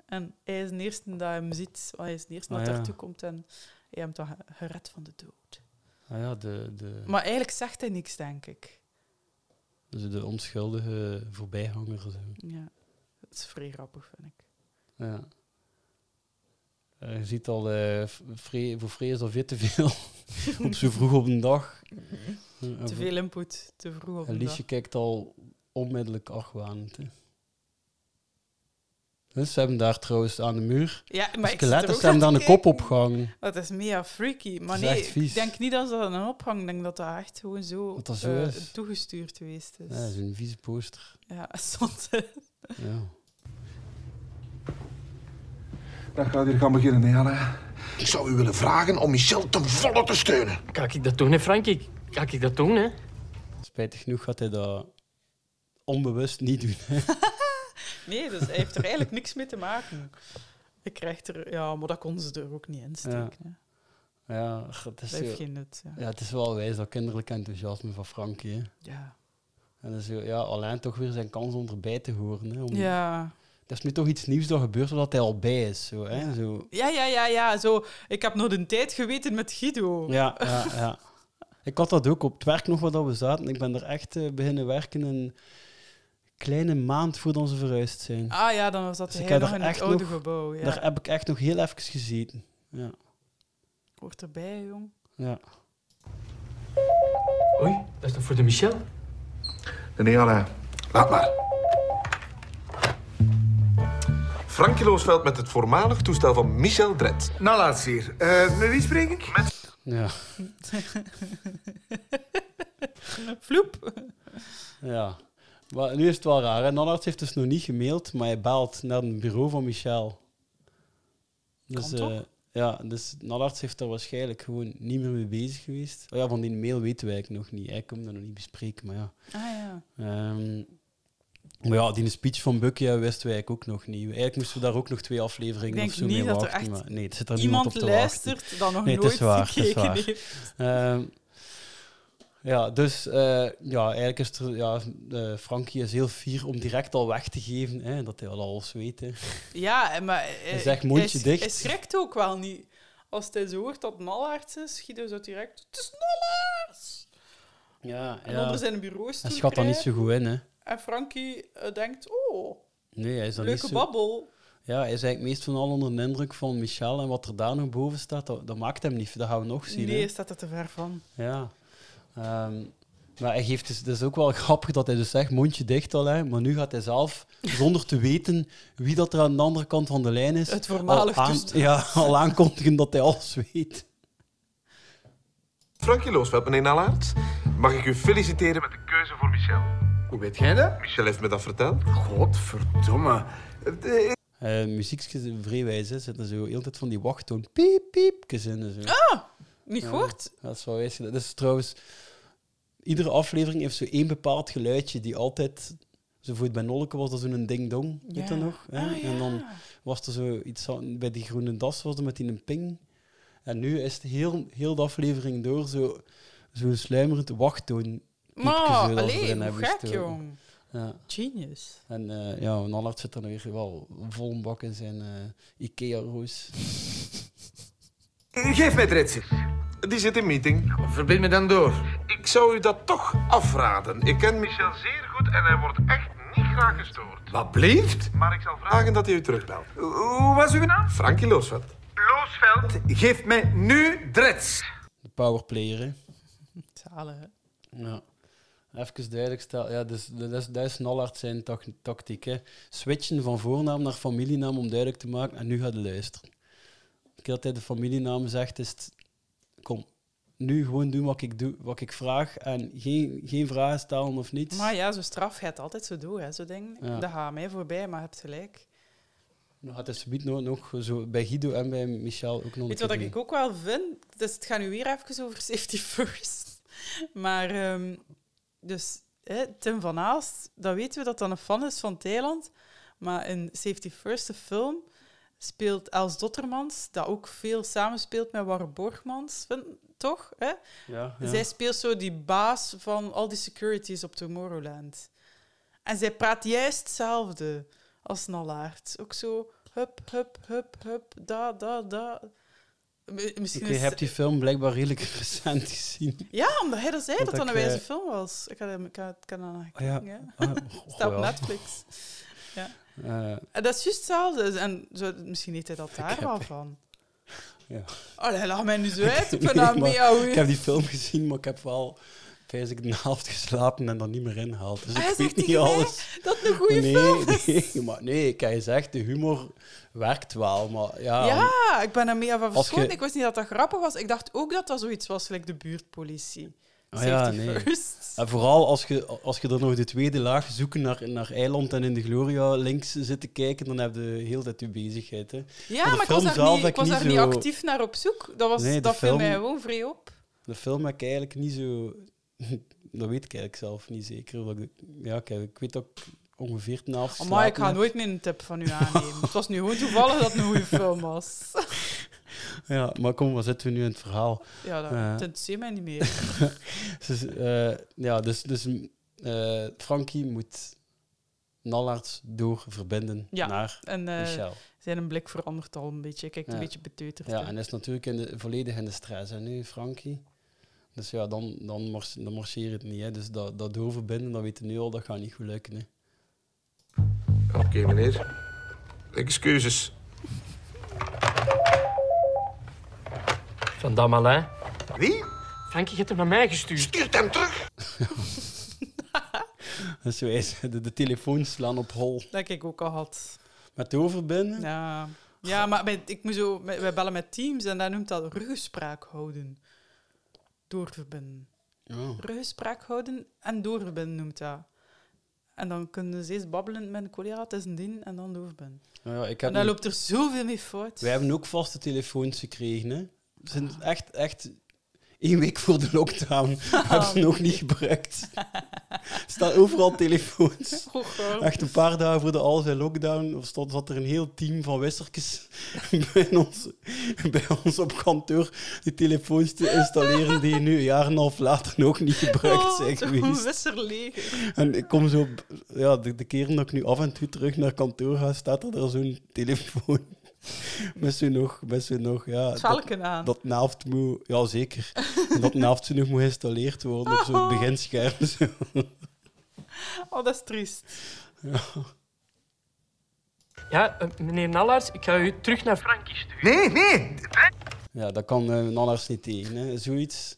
En hij is de eerste dat hem ziet. Hij is de eerste Ah, dat ja. daartoe komt en hij hem dan ge- gered van de dood. Ah ja, de, de, Maar eigenlijk zegt hij niks, denk ik. dus de onschuldige voorbijganger. Zo. Ja, dat is vrij grappig, vind ik. Ja. Eh, je ziet al, eh, v- vrij- voor Free is al veel te veel. op zo vroeg op een dag. Eh, en Te voor- veel input, te vroeg op En de dag. Liesje kijkt al onmiddellijk argwanend. hè. Dus ze hebben daar trouwens aan de muur Ja, maar ik zit er skeletten. ook Ze hebben naar daar te een kop kijken. opgehangen. Dat is mega freaky. Maar Het is nee, echt vies. ik denk niet dat ze dat een ophang. Ik denk dat dat echt gewoon zo, Dat dat zo eh, is. toegestuurd geweest is. Ja, dat is een vieze poster. Ja, zonde. Ja. Dat gaat hier gaan beginnen, hè, Alain. Ik zou u willen vragen om Michel ten volle te steunen. Kan ik dat doen, hè, Frankie? Kan ik dat doen, hè? Spijtig genoeg gaat hij dat onbewust niet doen. hè. Nee, dus hij heeft er eigenlijk niks mee te maken. Ik krijg er... Ja, maar dat konden ze er ook niet in steken. hè. Ja, ach, het is, Dat heeft zo, geen nut. Ja. ja, het is wel wijs, dat kinderlijk enthousiasme van Frankie. hè. Ja. En dan zo, ja, alleen toch weer zijn kans om erbij te horen. Hè, om- Ja. Dat is nu toch iets nieuws dat gebeurt, zodat hij al bij is. Zo, hè, zo. ja, ja, ja, ja. Zo, ik heb nog een tijd geweten met Guido. Ja, ja, ja. Ik had dat ook op het werk nog wat dat we zaten. Ik ben er echt eh, beginnen werken en kleine maand voordat ze verhuisd zijn. Ah ja, dan was dat Dus hij ik heb nog daar in het echt oude nog- gebouw. Ja. Daar heb ik echt nog heel even gezeten. Ja. Hoort erbij, jong. ja. Oei, dat is toch voor de Michel? De Jana, laat maar. Frank Loosveld met het voormalig toestel van Michel Dret. Nou, laat hier. Eh, met wie spreek ik? Ja. Vloep. ja. Maar nu is het wel raar. hè. Nanarts heeft dus nog niet gemaild, maar hij belt naar het bureau van Michel. Dus, Kan toch? eh, ja, dus Nanarts heeft er waarschijnlijk gewoon niet meer mee bezig geweest. Oh ja, van die mail weten wij eigenlijk nog niet. Hij kon dat nog niet bespreken, maar ja. Ah ja. Ehm, maar ja, die speech van Bucky ja, wisten wij eigenlijk ook nog niet. Eigenlijk moesten we daar ook nog twee afleveringen Ik denk of zo niet mee dat er wachten. echt maar nee, het zit er niemand op Iemand te wachten. luistert dan nog Nee, het nooit is waar, het is gekeken waar. heeft. Ehm, ja, dus eh, ja, eigenlijk is er, ja, eh, Frankie is heel fier om direct al weg te geven, hè, dat hij al alles weet. Hè. Ja, en maar... eh, Hij zegt mondje hij- dicht. Hij schrikt ook wel niet. Als hij zo hoort dat het Nallaerts is, Guido zo direct... Het is Nallaerts! Ja, En onder zijn bureaustoel Hij schat daar niet kruipt. zo goed in, hè. En Frankie eh, denkt... Oh, Nee, hij is daar leuke niet zo... babbel. Ja, hij is eigenlijk meest van al onder de indruk van Michel en wat er daar nog boven staat, dat, dat maakt hem niet. Dat gaan we nog zien, hè. Nee, staat er te ver van. Ja. Ehm, maar hij geeft dus, het is ook wel grappig dat hij dus zegt, mondje dicht al, hè, maar nu gaat hij zelf, zonder te weten wie dat er aan de andere kant van de lijn is, Het voormalig al, toestel. ja, al aankondigen dat hij alles weet. Frankie Loosveld, meneer Nalaert. Mag ik u feliciteren met de keuze voor Michel? Hoe weet jij dat? Michel heeft me dat verteld. Godverdomme. Eh, Eh muziekjes in vreewijs, hè, zitten zo de hele tijd van die wachttoon, piep, piepjes in. en Zo. Niet gehoord? Dat is wel wijs. Dat is trouwens... Iedere aflevering heeft zo één bepaald geluidje die altijd... Zo voor het bij Nolke was dat zo'n ding-dong, weet je Ja. nog? Hè? Ah, ja. En dan was er zo iets aan- bij die groene das was er met die een ping. En nu is het heel, heel de aflevering door zo zo'n sluimerend wachttoon. Maar, zo dat ze allee, erin hoe hebben gek, gestoken. jong. Ja. Genius. En eh ja, Nallard zit er dan weer wel vol een bak in zijn eh, Ikea-roos. Geef mij Dretsen. Die zit in meeting. Verbind me dan door. Ik zou u dat toch afraden. Ik ken Michel zeer goed en hij wordt echt niet graag gestoord. Wat blieft? Maar ik zal vragen dat hij u terugbelt. Hoe was uw naam? Frankie Loosveld. Loosveld. Geef mij nu Drets. De powerplayer, hè. Zalen, hè? Ja. Even duidelijk stellen. Ja, dus, dat is, dat is Nallard zijn tak- tactiek. Hè. Switchen van voornaam naar familienaam om duidelijk te maken. En nu gaat hij luisteren. Elke keer dat hij de familienaam zegt, is het... Kom, nu gewoon doen wat ik, doe, wat ik vraag. En geen, geen vragen stellen of niets. Maar ja, zo straf gaat altijd zo door, hè, zo ding. Ja. Dat gaat mij voorbij, maar je hebt gelijk. Dan gaat hij subiet nog, nog zo, bij Guido en bij Michel ook nog Weet je wat ik ook wel vind? Dus het gaat nu weer even over safety first. Maar, ehm, dus, hè, Tim van Aalst, dat weten we dat dat een fan is van Thailand. Maar in Safety First, de film, speelt Els Dottermans, dat ook veel samenspeelt met Warren Borgmans, vind- toch? Hè? Ja, ja. Zij speelt zo die baas van al die securities op Tomorrowland. En zij praat juist hetzelfde als Nallaert. Ook zo hup, hup, hup, hup, da, da, da. Mi- Misschien Oké, je is... hebt die film blijkbaar redelijk recent gezien. Ja, omdat hij dat zei, Want dat dat ik, een wijze eh, film was. Ik had hem ik had, ik had hem aangekeken, ja. hè. Ah, goh, Staat op ja. Netflix. Eh, En dat is juist hetzelfde. En zo, misschien heet hij dat daar heb- wel van. Ja. Allee, laat mij nu zo uit. Ik Nee, ben aan maar mee, Ik heb die film gezien, maar ik heb wel vijf ik de helft geslapen en dan niet meer ingehaald. Dus Hij ik zegt weet niet tegen mij alles. dat het een goede nee, film is. nee, maar nee, ik heb gezegd, de humor werkt wel, maar ja. Ja, ik ben er meer van Ehm, Als verschoten. ge- Ik wist niet dat dat grappig was. Ik dacht ook dat dat zoiets was, gelijk de buurtpolitie. Ah Safety ja, nee. Eh, first. En vooral als je, als je dan nog de tweede laag zoeken naar, naar Eiland en in de Gloria links zit te kijken, dan heb je heel dat je bezigheid. Hè. Ja, de maar ik film was daar, zelf niet, heb ik was ik daar niet niet zo- actief naar op zoek. Dat, was, Nee, de dat viel film- mij gewoon vrij op. De film heb ik eigenlijk niet zo. dat weet ik eigenlijk zelf niet zeker. want ik- Ja, ik, heb- ik weet ook ongeveer ten helft. Oh, Maar ik ga geslapen heb. nooit meer een tip van u aannemen. het was nu gewoon toevallig dat het een goede film was. Ja, maar kom, waar zitten we nu in het verhaal? Ja, dat Ja. interesseert mij niet meer. Dus, eh, ja, dus, dus eh, Frankie moet Nallarts doorverbinden Ja. naar En eh, Michel. zijn een blik verandert al een beetje. Hij kijkt Ja. een beetje beteuterd. Ja, hè. en dat is natuurlijk in de, volledig in de stress. En nu Frankie. Dus ja, dan, dan, mars- dan marcheert het niet. Hè. Dus dat, dat doorverbinden, dat weten we nu al, dat gaat niet goed lukken. Hè. meneer. Excuses. Van Damalin. Wie? Frankie, je hebt hem naar mij gestuurd. Stuurt hem terug. Dat is zo eens, Dus de, de telefoon slaan op hol. Dat ik ook al had. Met de overbinden. Ja, ja maar bij, ik moet zo, wij wij bellen met Teams en daar noemt dat ruggespraak houden. Doorverbinden. Ja. Ruggespraak houden en doorverbinden noemt dat. En dan kunnen ze eerst babbelen met een collega, het is een dien, en dan doorverbinden. Nou ja, ik heb En daar nu- loopt er zoveel mee fout. Wij hebben ook vaste telefoons gekregen. Hè. We zijn echt, echt één week voor de lockdown hebben ze nog niet gebruikt. Er staan overal telefoons. Goed, hoor. Echt een paar dagen voor de al zijn lockdown of stond, zat er een heel team van wissertjes bij ons, bij ons op kantoor die telefoons te installeren die nu een jaar en een half later nog niet gebruikt zijn Oh, geweest. wisserleeg. En ik kom zo, op- ja, de, de keren dat ik nu af en toe terug naar kantoor ga, staat er daar zo'n telefoon. Met zo'n nog, met zo'n nog, ja. Het Dat, velken aan. dat naald moet, ja zeker. En dat naald zo nog moet geïnstalleerd worden op zo'n beginscherm. Zo. Oh, dat is triest. Ja, eh, meneer Nallaars, ik ga u terug naar Frankie Nee, sturen. nee. Ja, dat kan eh Nallers niet tegen. Hè. Zoiets,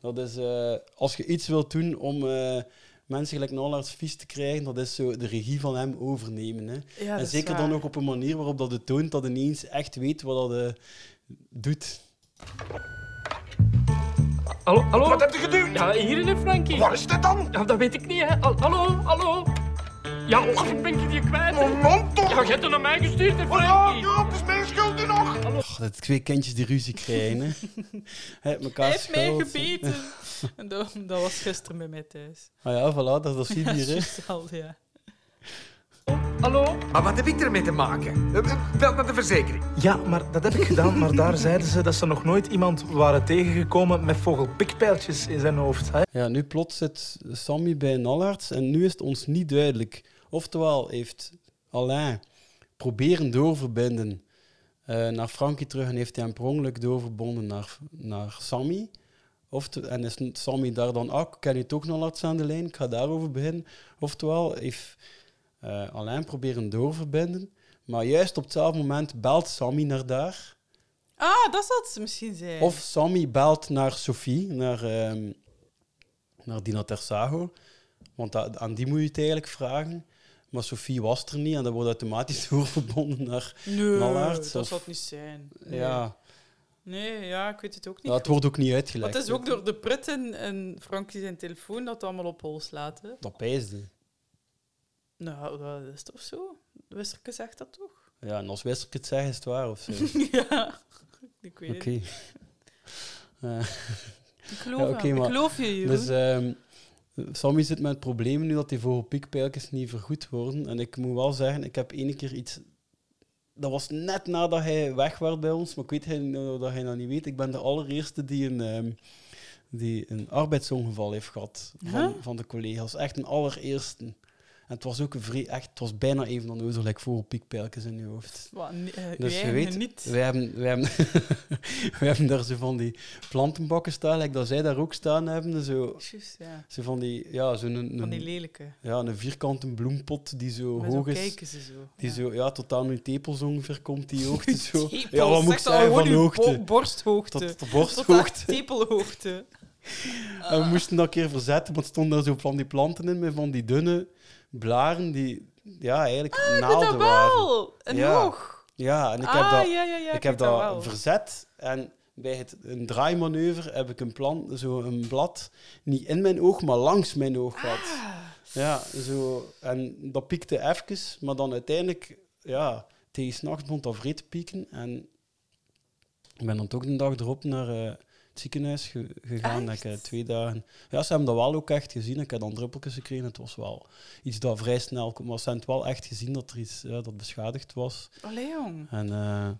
dat is, eh, als je iets wilt doen om eh, mensen gelijk Nallers vies te krijgen, dat is zo de regie van hem overnemen. Hè. Ja, en dat is zeker waar. dan ook op een manier waarop dat het toont dat ineens echt weet wat dat eh, doet. Hallo, hallo? Wat heb je geduwd? Ja, hier hè, Frankie. Waar is dit dan? Ja, dat weet ik niet, hè. Al- hallo, hallo. Ja, of ik ben je die kwijt, hè. Mijn mond toch? Ja, je hebt hem naar mij gestuurd, hè, Oh ja, Frankie. ja, het is mijn schuld nu nog. Goh, dat twee kindjes die ruzie krijgen. Hè. Hè, elkaar Hij heeft mij schuld. gebeten. En dat, dat was gisteren bij mij thuis. Ah ja, voilà, dat, dat zie je Dat is hier. hè. juist al, ja. Hallo? Maar wat heb ik ermee te maken? Eh, eh, Bel met de verzekering. Ja, maar dat heb ik gedaan. Maar daar zeiden ze dat ze nog nooit iemand waren tegengekomen met vogelpikpijltjes in zijn hoofd. Hè? Ja, nu plots zit Sammy bij Nallarts en nu is het ons niet duidelijk. Oftewel heeft Alain proberen doorverbinden eh, naar Frankie terug en heeft hij hem per ongeluk doorverbonden naar, naar Sammy. Ofte- en is Sammy daar dan, ah, ik ken je toch Nallarts aan de lijn, ik ga daarover beginnen. Oftewel heeft eh, Alain proberen doorverbinden, maar juist op hetzelfde moment belt Sammy naar daar. Ah, dat zal ze misschien zijn. Of Sammy belt naar Sophie, naar, ehm, naar Dina Tersago. Want dat- aan die moet je het eigenlijk vragen. Maar Sophie was er niet en dat wordt automatisch doorverbonden naar... nee, Mallaert, dat of- zal het niet zijn. Nee. Ja, Nee, ja, ik weet het ook niet. dat wordt ook niet uitgelegd. Want het is ook door de prut en, en Frankie zijn telefoon dat het allemaal op hol slaat. Hè. Dat pijsde. Nou, dat is toch zo? Wisserke zegt dat toch? Ja, en als Wester het zegt, is het waar of zo. Oké. ja, ik weet het. Eh, Ik geloof, Ja, oké, aan- maar- ik geloof je, Jeroen. dus ehm, Sammy zit met het probleem nu dat die vogelpiekpijltjes niet vergoed worden. En ik moet wel zeggen, ik heb ene keer iets... Dat was net nadat hij weg was bij ons, maar ik weet hij, nou dat hij dat niet weet. Ik ben de allereerste die een, ehm, die een arbeidsongeval heeft gehad van, van de collega's. Echt een allereerste. En het was ook een vrij, echt, het was bijna even dan nodig, like vogelpiekpijltjes in je hoofd. Wat, nee, eh, Dus uw je eigen weet, niet. we hebben, we, hebben, we hebben daar zo van die plantenbakken staan, like dat zij daar ook staan hebben. Zo, Juist, ja. zo van die, ja, zo'n een, Van die een- lelijke. ja, een vierkante bloempot die zo Maar zo hoog is. kijken ze zo. Die ja. zo, ja, tot aan uw tepels ongeveer komt, die hoogte zo. Tepels, ja, wat moet ik zeg dan zeggen van gewoon uw hoogte? bo- borsthoogte. Tot de Tot borsthoogte. aan Ah. tepelhoogte. En we moesten dat een keer verzetten, want stonden daar zo van die planten in, met van die dunne blaren die, ja, eigenlijk Ah, naalden Dat waren. wel! En Ja. hoog. Ja, en ik heb ah, dat... ja, ja, ja. ik heb weet dat wel. verzet en bij het, een draaimanoeuvre heb ik een, plan, zo een blad niet in mijn oog, maar langs mijn oog Ah. gehad. Ja, zo, en dat piekte even, maar dan uiteindelijk, ja, tegen 's nachts begon dat vreed te pieken. En ik ben dan toch een dag erop naar eh, het ziekenhuis ge- gegaan. Dat ik eh, twee dagen... Ja, ze hebben dat wel ook echt gezien. Ik heb dan druppeltjes gekregen. Het was wel iets dat vrij snel komt. Maar ze hebben het wel echt gezien dat er iets ja, dat beschadigd was. Allee, jong. En, eh,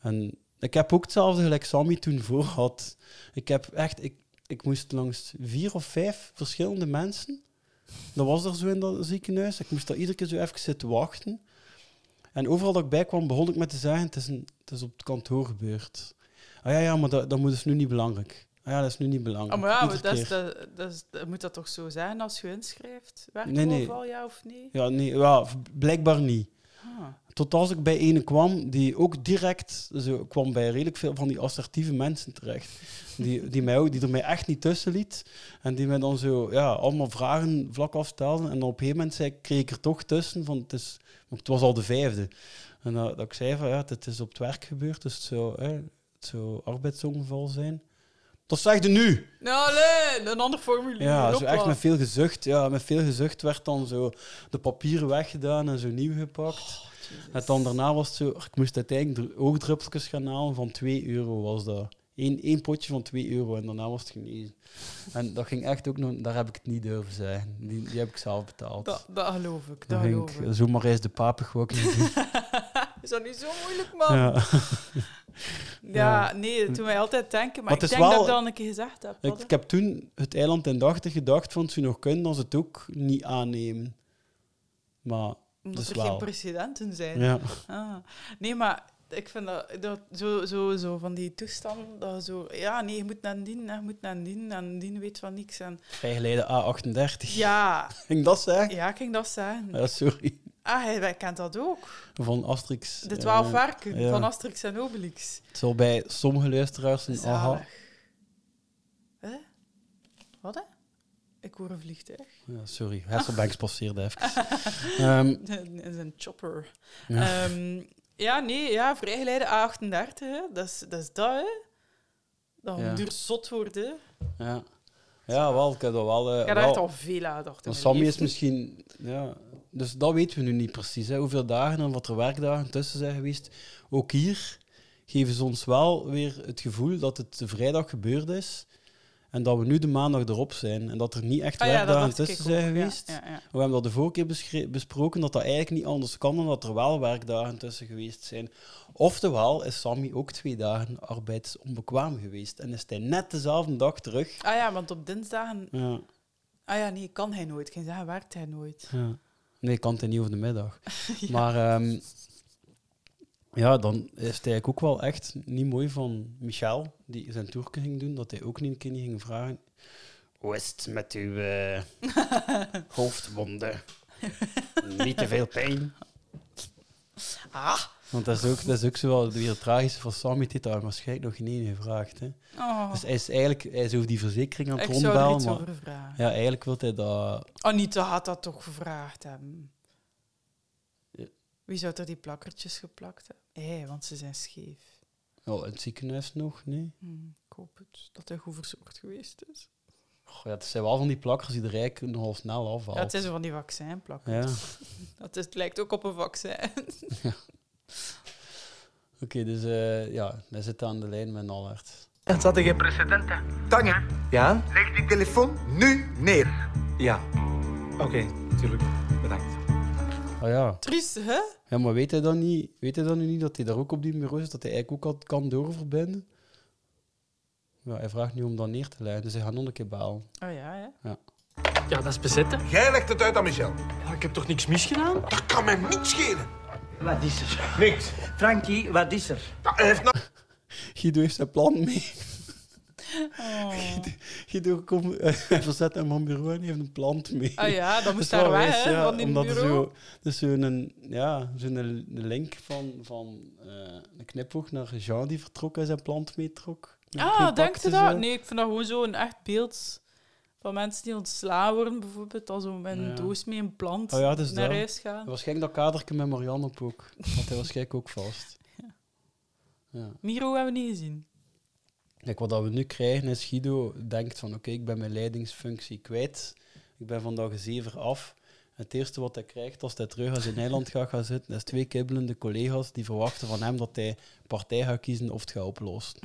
en ik heb ook hetzelfde gelijk Sammy toen voor had. Ik heb echt, ik, ik moest langs vier of vijf verschillende mensen. Dat was er zo in dat ziekenhuis. Ik moest daar iedere keer zo even zitten wachten. En overal dat ik bij kwam, begon ik met te zeggen: het is, een, het is op het kantoor gebeurd. Ah ja, ja maar dat, dat moet dus nu niet belangrijk. Ah ja, dat is nu niet belangrijk. Ah, maar ja, maar Iedere dat is, keer. dat, dat is, dat- moet dat toch zo zijn als je inschrijft? Werkt Nee, nee, nee. al ja of nee? Ja, nee, ja, v- blijkbaar niet. Tot als ik bij ene kwam die ook direct, zo kwam bij redelijk veel van die assertieve mensen terecht. Die, die, mij ook, die er mij echt niet tussen liet. En die mij dan zo ja, allemaal vragen vlak afstelden. En dan op een gegeven moment zei, ik- kreeg ik er toch tussen, van het, is, want het was al de vijfde. En dat, dat ik zei van ja, het is op het werk gebeurd, dus het zou, hè, het zou arbeidsongeval zijn. Dat zegde nu! Nou, nee, een ander formulier. Ja, zo Hopla. echt met veel gezucht. Ja, met veel gezucht werd dan zo de papieren weggedaan en zo nieuw gepakt. en dan daarna was het zo... Ik moest uiteindelijk dr- oogdruppeltjes gaan halen van 2 euro was dat. Eén, één potje van 2 euro en daarna was het genezen. En dat ging echt ook nog... Daar heb ik het niet durven zeggen. Die, die heb ik zelf betaald. Dat, dat geloof ik, dat Dan ging geloof ik ik. zomaar eens de papig ook niet doen. Is dat niet zo moeilijk, man? Ja. Ja, nee, dat doet mij altijd denken. Maar, Maar het is ik denk dat wel- ik dat al een keer gezegd heb. Ik, wat, hè? ik heb toen het eiland in dachten gedacht van, ze nog kunnen, dan ze het ook niet aannemen. Maar, Omdat dus er wel. geen precedenten zijn. Ja. Ah. Nee, maar ik vind dat, dat zo, zo, zo van die toestanden, dat zo... Ja, nee, je moet naar dien, hè, je moet naar dien, en dien weet van niks. En, Vrijgeleide A38. ja, Ging dat zeggen? ja, ik ging dat zeggen. Ja, sorry. Ah, hij, hij kent dat ook. Van Asterix. De twaalf eh, werken ja. van Asterix en Obelix. Het zal bij sommige luisteraars een aha. Hè? Wat, hè? Ik hoor een vliegtuig. Ja, sorry, Hasselbanks passeerde even. Ehm, Dat is een chopper. Ja. Ja, ja nee, ja, vrijgeleide A38, hè. Dat is dat, is dat hè. Dat Ja. duurt zot worden. hè. ja. ja, wel, ik heb dat wel... eh, Ik heb daar wel- echt al veel aan gedacht. in Want mijn Sammy is leven. misschien... Ja, dus dat weten we nu niet precies. Hè. Hoeveel dagen en wat er werkdagen tussen zijn geweest. Ook hier geven ze ons wel weer het gevoel dat het de vrijdag gebeurd is. En dat we nu de maandag erop zijn. En dat er niet echt Ah ja, dat werkdagen dacht ik tussen ook, zijn ja, geweest. ja, ja. We hebben dat de vorige keer beschre- besproken, dat dat eigenlijk niet anders kan dan dat er wel werkdagen tussen geweest zijn. Oftewel is Sammy ook twee dagen arbeidsonbekwaam geweest. En is hij net dezelfde dag terug. Ah ja, want op dinsdagen... Ja, Ah ja, nee, kan hij nooit. Geen zeggen, werkt hij nooit. ja. Nee, ik kan het niet over de middag. Maar ehm, ja, dan is het eigenlijk ook wel echt niet mooi van Michel, die zijn tour ging doen, dat hij ook niet een keer niet ging vragen. Hoe is het met uw eh, hoofdwonden? niet te veel pijn? Ah! Want dat is ook, dat is ook zo wel weer het tragische van Sammy die heeft daar waarschijnlijk nog geen één gevraagd. Hè. Oh. Dus hij is eigenlijk hij is over die verzekering aan het Ik zou er rondbellen. iets maar- over vragen. Ja, eigenlijk wil hij dat... Anita had dat toch gevraagd hebben. Ja. Wie zou er die plakkertjes geplakt hebben? Hé, want ze zijn scheef. Ja, in het ziekenhuis nog, nee. Hm, ik hoop het. Dat hij goed verzorgd geweest is. Goh, ja, het zijn wel van die plakkers die er eigenlijk nogal snel afhaalt. Ja, het is van die vaccinplakkers. Dat is, het lijkt ook op een vaccin. Oké, dus eh, ja, wij zitten aan de lijn met Allard. Het zat er geen Precedente. Tanja, Ja? leg die telefoon nu neer. Ja. Oké, natuurlijk. Bedankt. Ah ja. Triest, hè? Ja, maar weet hij dan niet, weet hij dan nu niet dat hij daar ook op die bureau zit, dat hij eigenlijk ook al kan doorverbinden? Ja, hij vraagt nu om dat neer te leiden, dus hij gaat nog een keer bellen. Oh ja, hè? Ja. Ja, dat is bezitten. Jij legt het uit aan Michel. Ja, ik heb toch niks misgedaan? Dat kan mij niets schelen. Wat is er? Niks. Frankie, wat is er? Dat heeft nou... Guido heeft zijn plan mee. Oh. Guido kom, hij verzet hem van bureau en heeft een plant mee. Ah ja, dat moest is wel daar weg, wijs, hè, ja, van die omdat er bureau. Zo, dus zo'n ja, zo een link van, van eh een knipoog naar Jean die vertrok en zijn plant meetrok. Ah, denkt u pakte dat? zo. Nee, ik vind dat gewoon zo'n echt beeld van mensen die ontslaan worden, bijvoorbeeld, als om met een Ja. doos mee een plant Oh ja, dus naar dat. huis gaan. Waarschijnlijk dat kaderke met Marianne op ook. Want hij was gek ook vast. Ja. Miro hebben we niet gezien. Kijk, wat dat we nu krijgen is Guido denkt van oké, ik ben mijn leidingsfunctie kwijt. Ik ben vandaag zever af. Het eerste wat hij krijgt als hij terug aan zijn eiland gaat gaan zitten, is twee kibbelende collega's die verwachten van hem dat hij partij gaat kiezen of het gaat oplossen.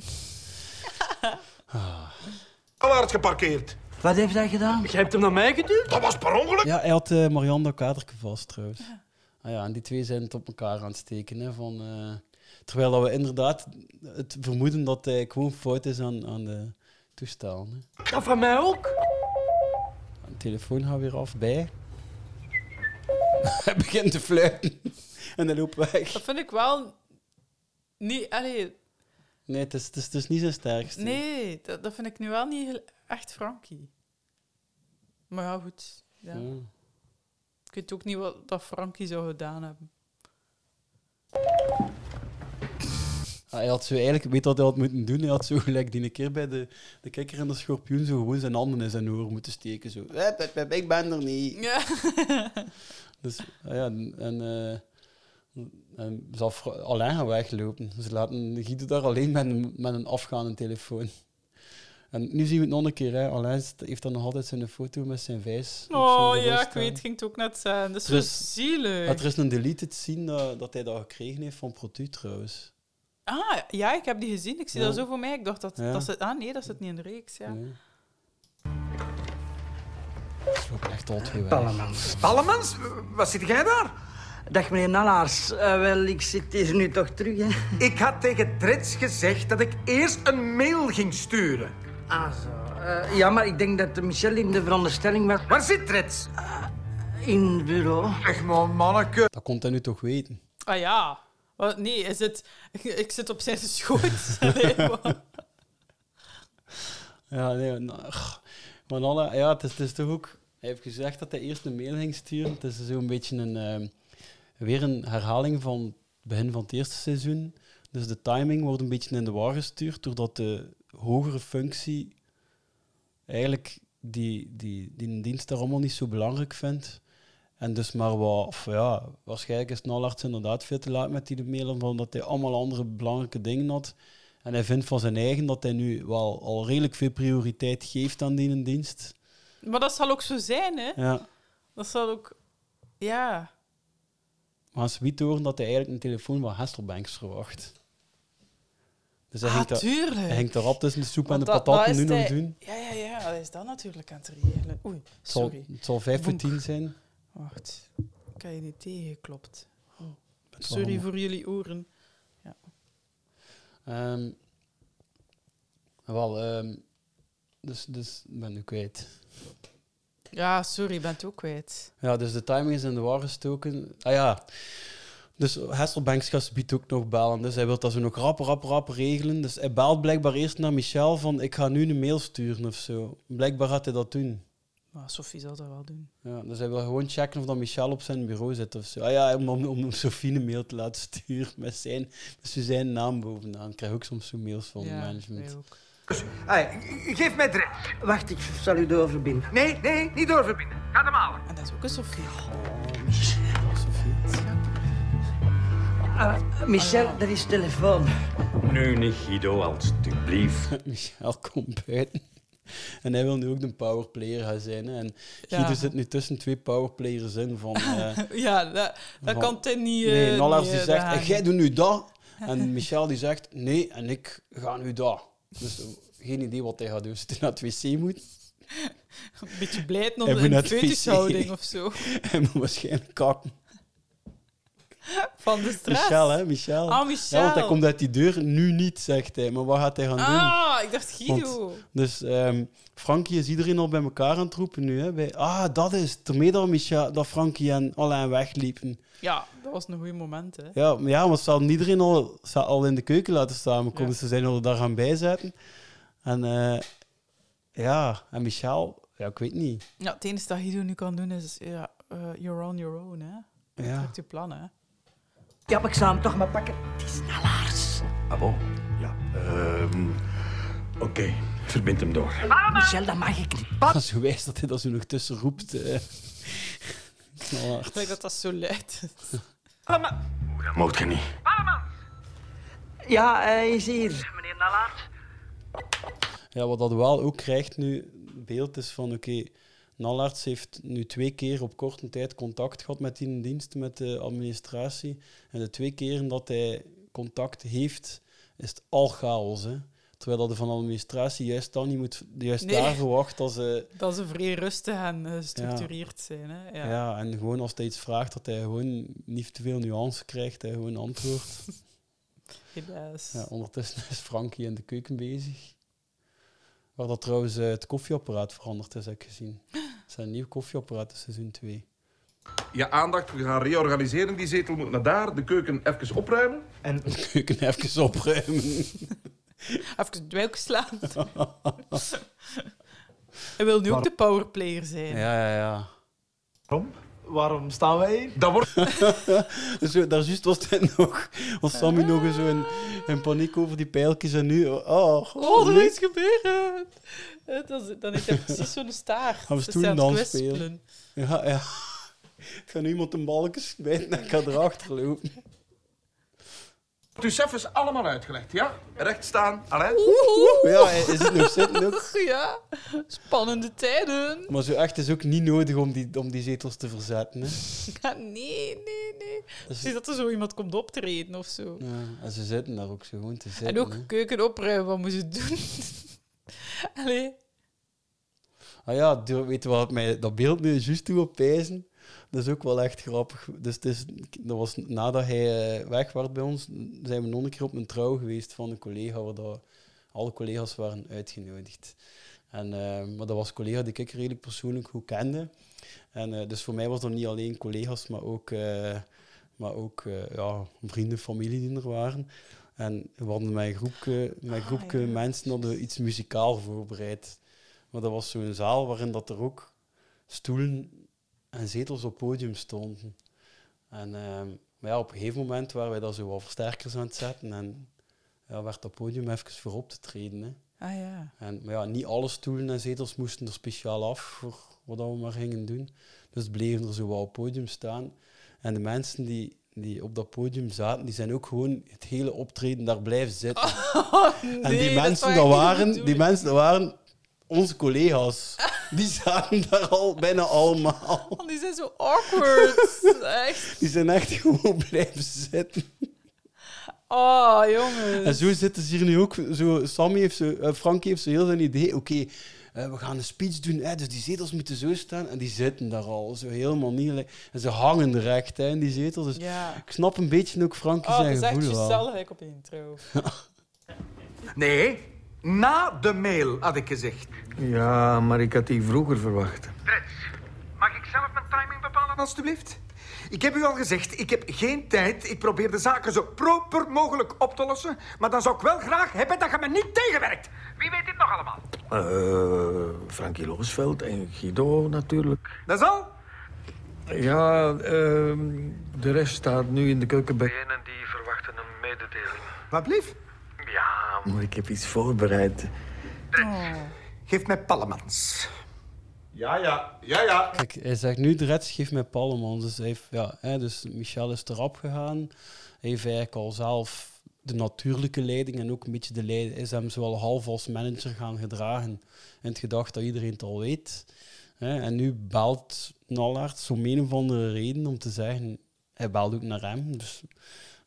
Allard geparkeerd. Wat heeft hij gedaan? Jij hebt hem naar mij geduwd? Dat was per ongeluk. Ja, hij had eh Marianne dat kaderke vast trouwens. Ah ja, en die twee zijn het op elkaar aan het steken. Hè, van, eh, terwijl dat we inderdaad het vermoeden dat hij gewoon fout is aan, aan de toestel. Hè. Dat van mij ook. De telefoon gaat weer af bij. Hij begint te fluiten en hij loopt weg. Dat vind ik wel niet. Allee, Nee, het is, het is, het is niet zijn sterkste. nee, dat, dat vind ik nu wel niet heel- echt Frankie. Maar ja, goed. Ja. Ja. Ik weet ook niet wat dat Frankie zou gedaan hebben. Ah, Hij had zo eigenlijk, weet wat hij had moeten doen? Hij had zo gelijk die een keer bij de, de kikker en de schorpioen zo gewoon zijn handen in zijn oor moeten steken. Zo. Hup, hup, hup, ik ben er niet. Dus ah ja, en, en, eh, en ze af, Alain gaan weglopen. Ze laten Guido daar alleen met een, met een afgaande telefoon. En nu zien we het nog een keer. Hè. Alain st- heeft dan nog altijd zijn foto met zijn vijs. op Oh zijn bureau ja, ik staan. weet, ging het ook net zijn. Dat is Er zo is- zielig. Het Ah, is een deleted scene eh, dat, dat hij dat gekregen heeft van Protu trouwens. Ah, ja, ik heb die gezien. Ik zie Ja. dat zo voor mij. Ik dacht dat, Ja. dat ze... Ah nee, dat zit niet in de reeks, ja. Dat is ook echt al twee Pallemans. Pallemans, wat zit jij daar? Dag meneer Nallaars. Eh, wel, ik zit hier nu toch terug, hè? Ik had tegen Trits gezegd dat ik eerst een mail ging sturen. Ah, zo. Eh, ja, maar ik denk dat Michel in de veronderstelling was... Eh, Waar zit Trits? In het bureau. Echt man, manneke. Dat komt hij nu toch weten. Ah ja. Wat, nee, is het... ik zit op zijn schoot. Allee, wat? Ja, nee, nou, ugh. maar alle, ja, het is, het is toch ook. Hij heeft gezegd dat hij eerst een mail ging sturen. Het is zo'n beetje een, ehm, weer een herhaling van het begin van het eerste seizoen. Dus de timing wordt een beetje in de war gestuurd, doordat de hogere functie eigenlijk die, die, die dienst daar allemaal niet zo belangrijk vindt. En dus maar wat, of ja, waarschijnlijk is Nallarts inderdaad veel te laat met die mailen, omdat hij allemaal andere belangrijke dingen had. En hij vindt van zijn eigen dat hij nu wel al redelijk veel prioriteit geeft aan die dienst. maar dat zal ook zo zijn, hè? Ja. Dat zal ook... Ja. Maar als wiet horen dat hij eigenlijk een telefoon van Hasselbanks verwacht. Dus hij Ah, hangt, daar- tuurlijk. hij hangt daar op tussen de soep en de Want dat- patat dat nu is nog de- doen. Ja, ja, ja. Hij is dat natuurlijk aan het regelen. Oei, Het zal, sorry. het zal vijf voor Vonk. tien zijn. Wacht. Ik heb je niet tegengeklopt. Oh. Het wel Sorry allemaal- voor jullie oren. Ja. Ehm, wel, ehm, dus, dus ik ben nu kwijt. Ja, sorry, ik ben het ook kwijt. Ja, dus de timing is in de war gestoken. Ah ja. Dus Hasselbanks gaat biedt ook nog bellen. Dus hij wil dat ze nog rap, rap, rap regelen. Dus hij belt blijkbaar eerst naar Michel van ik ga nu een mail sturen of zo. Blijkbaar gaat hij dat doen. Maar Sophie zal dat wel doen. Ja, dus hij wil gewoon checken of dat Michel op zijn bureau zit of zo. Ah ja, om, om, om Sofie een mail te laten sturen met zijn, met zo zijn naam bovenaan. Ik krijg ook soms zo mails van Ja, management. wij Hey, geef mij Trits. Wacht, ik zal u doorverbinden. Nee, nee, niet doorverbinden. Ga hem halen. En dat is ook een Sophie. Ah, Michel, er is telefoon. Nu niet, Guido, alstublieft. Michel komt buiten. En hij wil nu ook een powerplayer gaan zijn. Hè. En Ja. Guido zit nu tussen twee powerplayers in van... eh, Ja, dat, dat van- kan ten niet... eh, Nee, Nollers niet, die eh, zegt, dragen. "En jij doet nu dat. En Michel die zegt, nee, en ik ga nu dat. Dus eh, geen idee wat hij gaat doen. Zit hij naar het wc moet. Een beetje blijd nog Hij moet een naar het fetischhouding wc. of zo. Hij moet waarschijnlijk kakken. Van de stress. Michel, hè, Michel. Ah, Michel. Ja, want hij komt uit die deur, nu niet, zegt hij. Maar wat gaat hij gaan doen? Ah, ik dacht Guido. Want- dus ehm, Frankie is iedereen al bij elkaar aan het roepen nu. Hè? Bij, ah, dat is het. Termee dat, Michel, dat Frankie en Alain wegliepen. Ja, dat was een goed moment, hè. Ja, maar ja, want ze hadden iedereen al, ze hadden al in de keuken laten samenkomen. Dus ze zijn al daar gaan bijzetten. En eh, ja, en Michel, ja, ik weet niet. Ja, het enige dat Guido nu kan doen is... Ja, eh, you're on your own, hè. Dat Ja. trekt je plan, hè. Ja, maar ik zal hem toch maar pakken. Het is Nallaars. Ah, Oh, bon? Ja. Ehm, Oké, verbind hem door. Michel, dat mag ik niet. Dat is zo wijs dat hij dat zo nog tussen roept. eh. Knalhard. Ik denk dat dat zo luid is. Dat moogt je niet. Ja, hij is hier. Meneer Nallaert. Ja, wat dat wel ook krijgt nu, beeld is van oké, Nallarts heeft nu twee keer op korte tijd contact gehad met die dienst, met de administratie. En de twee keren dat hij contact heeft, is het al chaos. Hè? Terwijl dat de van de administratie juist, dan niet moet, juist Nee. daar verwacht dat ze... Dat ze vrij rustig en eh, gestructureerd zijn, hè. Ja. Ja. en gewoon als hij iets vraagt, dat hij gewoon niet te veel nuance krijgt, hij gewoon antwoordt. Helaas. Ja, ondertussen is Frankie in de keuken bezig. Waar dat trouwens eh, het koffieapparaat veranderd is, heb ik gezien. Het zijn nieuw koffieapparaat in seizoen 2. Je aandacht, we gaan reorganiseren. Die zetel moet naar daar. De keuken even opruimen. En De keuken even opruimen. Even dwijk slaan. Hij wil nu ook de powerplayer zijn. Ja, ja, ja. Waarom? Waarom staan wij hier? Dat wordt... zo, daar juist was het nog. Was Sammy nog eens zo in, in paniek over die pijltjes en nu... Oh, Oh, er nee. is iets gebeuren. Eh, Dat is, dan heeft hij precies zo'n staart. Gaan we Dat is stoelen zelfs dan spelen? kwispelen. Ja, ja. Het gaat nu iemand een balken smijten en ik ga erachter lopen. Dus even allemaal uitgelegd, ja? Recht staan, allee. Ja, is het nog zitten ook? Ja, spannende tijden. Maar zo echt is ook niet nodig om die, om die zetels te verzetten. Hè. Ja, nee, nee, nee. Precies dat er zo iemand komt optreden of zo. Ja, en ze zitten daar ook zo gewoon te zitten. En ook hè. keuken opruimen, wat moet je doen? Allee. Ah ja, door- weet je wat mij dat beeld nu juist toe op pijzen? Dat is ook wel echt grappig. Dus het is, dat was nadat hij eh, weg was bij ons, zijn we nog een keer op een trouw geweest van een collega, waar dat alle collega's waren uitgenodigd. En, eh, maar dat was een collega die ik redelijk persoonlijk goed kende. En, eh, dus voor mij was dat niet alleen collega's, maar ook, eh, maar ook eh, ja, vrienden, familie die er waren. En we hadden met een groepje, met een groepje mensen hadden we iets muzikaal voorbereid. Maar dat was zo'n zaal waarin dat er ook stoelen en zetels op podium stonden. En ehm, maar ja, op een gegeven moment waren wij daar zo wat versterkers aan het zetten. En ja, werd dat podium even voor op te treden. Hè. Ah ja. En, maar ja, niet alle stoelen en zetels moesten er speciaal af voor wat dat we maar gingen doen. Dus het bleven er zo wat op podium staan. En de mensen die, die op dat podium zaten, die zijn ook gewoon het hele optreden daar blijven zitten. en die nee, dat zou mensen ik dat niet waren, bedoelen. die mensen dat waren onze collega's. Die zaten daar al bijna allemaal. Want die zijn zo awkward. Echt. Die zijn echt gewoon blijven zitten. Oh, jongens. En zo zitten ze hier nu ook. Zo, Sammy heeft zo, eh, Frankie heeft zo heel zijn idee. Oké, eh, we gaan een speech doen. hè, dus die zetels moeten zo staan. En die zitten daar al. Zo helemaal niet. li- En ze hangen recht hè, in die zetels. Dus Ja. ik snap een beetje ook Frankie Oh, dat zijn is echt gevoel wel. jezelf gelijk op een intro. Nee, na de mail had ik gezegd. Ja, maar ik had die vroeger verwacht. Mag ik zelf mijn timing bepalen, alstublieft? Ik heb u al gezegd, ik heb geen tijd. Ik probeer de zaken zo proper mogelijk op te lossen. Maar dan zou ik wel graag hebben dat je me niet tegenwerkt. Wie weet dit nog allemaal? Eh Frankie Loosveld en Guido natuurlijk. Dat is al? Ja, ehm, de rest staat nu in de keuken bij. Degenen die verwachten een mededeling. Wat lief? Ja, Maar ik heb iets voorbereid. Geef mij Pallemans. Ja, ja, ja, ja. Kijk, hij zegt nu de Reds geeft mij Pallemans. Dus, hij heeft, ja, hè, dus Michel is erop gegaan. Hij heeft eigenlijk al zelf de natuurlijke leiding en ook een beetje de leiding is hem zowel half als manager gaan gedragen. In het gedacht dat iedereen het al weet. Hè. En nu belt Nallarts om een of andere reden om te zeggen... Hij belt ook naar hem. Dus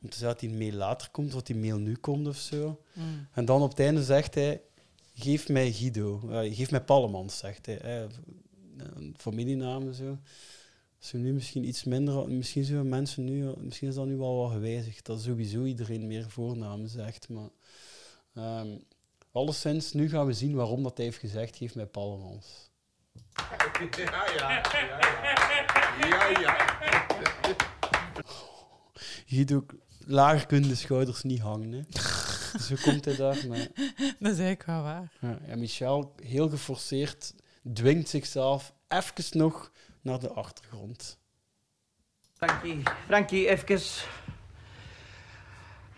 om te zeggen dat die mail later komt, wat die mail nu komt of zo. Mm. En dan op het einde zegt hij... Geef mij Guido. Eh, geef mij Pallemans, zegt hij. Eh, een familienaam en zo. Zo nu misschien iets minder... Misschien, zijn mensen nu, misschien is dat nu al wel gewijzigd. Dat sowieso iedereen meer voornamen zegt. Maar... ehm alleszins, nu gaan we zien waarom dat hij heeft gezegd. Geef mij Pallemans. Ja, ja, ja, ja. Ja, ja. Guido, lager kunnen de schouders niet hangen, hè. zo komt hij daar, maar... Dat is eigenlijk wel waar. Ja, en Michel, heel geforceerd, dwingt zichzelf even nog naar de achtergrond. Frankie, Frankie, even.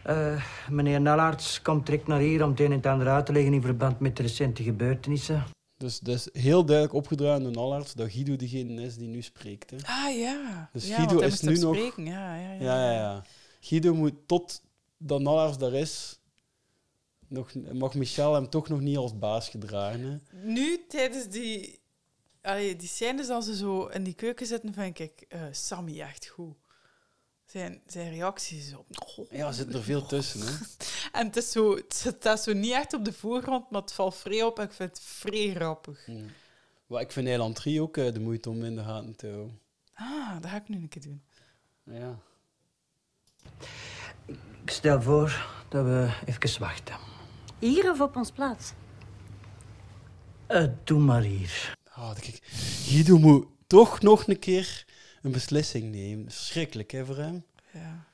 Eh, meneer Nallaerts komt direct naar hier om het een en het ander uit te leggen in verband met de recente gebeurtenissen. Dus dat is heel duidelijk opgedragen door Nallarts dat Guido degene is die nu spreekt. Hè. Ah ja. Dus ja, Guido want hij is moest nu hem nog- Spreken. Ja, ja, ja. Ja, ja, ja. Guido moet tot dat Nallarts daar is, nog, mag Michel hem toch nog niet als baas gedragen. Hè. Nu, tijdens die... Allee, die scènes als ze zo in die keuken zitten, vind ik eh, Sammy echt goed. Zijn, zijn reacties zo... Ja, er zit er veel tussen. Hè. En het is, zo, het zit- dat is zo niet echt op de voorgrond, maar het valt vrij op en ik vind het vrij grappig. Maar ik vind Eiland 3 ook eh, de moeite om in de gaten te houden. Ah, dat ga ik nu een keer doen. Ja. Ik stel voor dat we even wachten. Hier of op ons plaats? Eh, doe maar hier. Ah, kijk. Guido moet toch nog een keer een beslissing nemen. Schrikkelijk, hè, voor hem. Ja,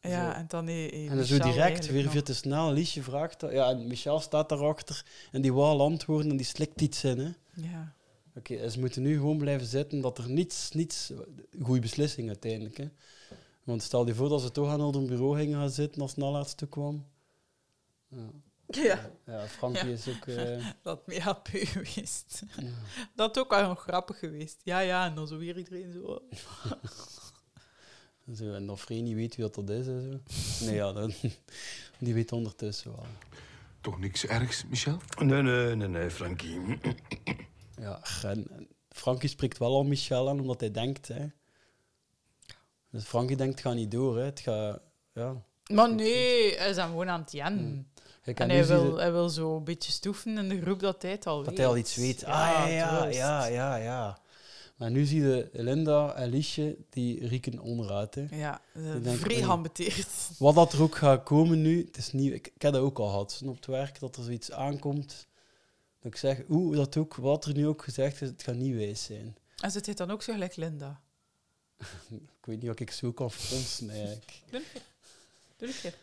ja en dan... eh, eh, En dan zo Michel direct, eigenlijk weer nog. veel te snel. Liesje vraagt dat. Ja, en Michel staat daarachter en die wil antwoorden en die slikt iets in, hè. Ja. Oké, en ze moeten nu gewoon blijven zitten dat er niets, niets... Goede beslissing uiteindelijk, hè. Want stel je voor dat ze toch aan een bureau gingen gaan zitten als Nalaat toe kwam. Ja. Ja. Ja, Frankie is ook... eh, Dat mega puur geweest. Dat is ook wel nog grappig geweest. Ja, ja, en dan zo weer iedereen zo... Zo, en of Reni weet wie dat, dat is en zo. Nee, ja, dat, die weet ondertussen wel. Toch niks ergs, Michel? Nee, nee, nee, nee, Frankie. Ja, en Frankie spreekt wel al Michel aan, omdat hij denkt, hè. Dus Frankie denkt, het gaat niet door, hè. Het gaat, ja. Maar nee, hij is dan gewoon aan het jan. Hij kan En Hmm. nu hij zien wil, dat- hij wil zo een beetje stoeven in de groep dat hij het al weet. Dat hij al iets weet. ah, ja, ja, juist. ja, ja, ja. Maar nu zie je Linda en Liesje, die rieken onraad. Hè. Ja, eh, Die denken, vrij oei. geambeteerd. Wat dat er ook gaat komen nu, het is nieuw. Ik, ik heb dat ook al gehad. Zo Op het werk, dat er zoiets aankomt. Dat ik zeg, oeh, dat ook, wat er nu ook gezegd is, het gaat niet wijs zijn. En zit hij dan ook zo gelijk Linda? Ik weet niet wat ik zo kan fronsen eigenlijk. Doe een keer. Doe een keer.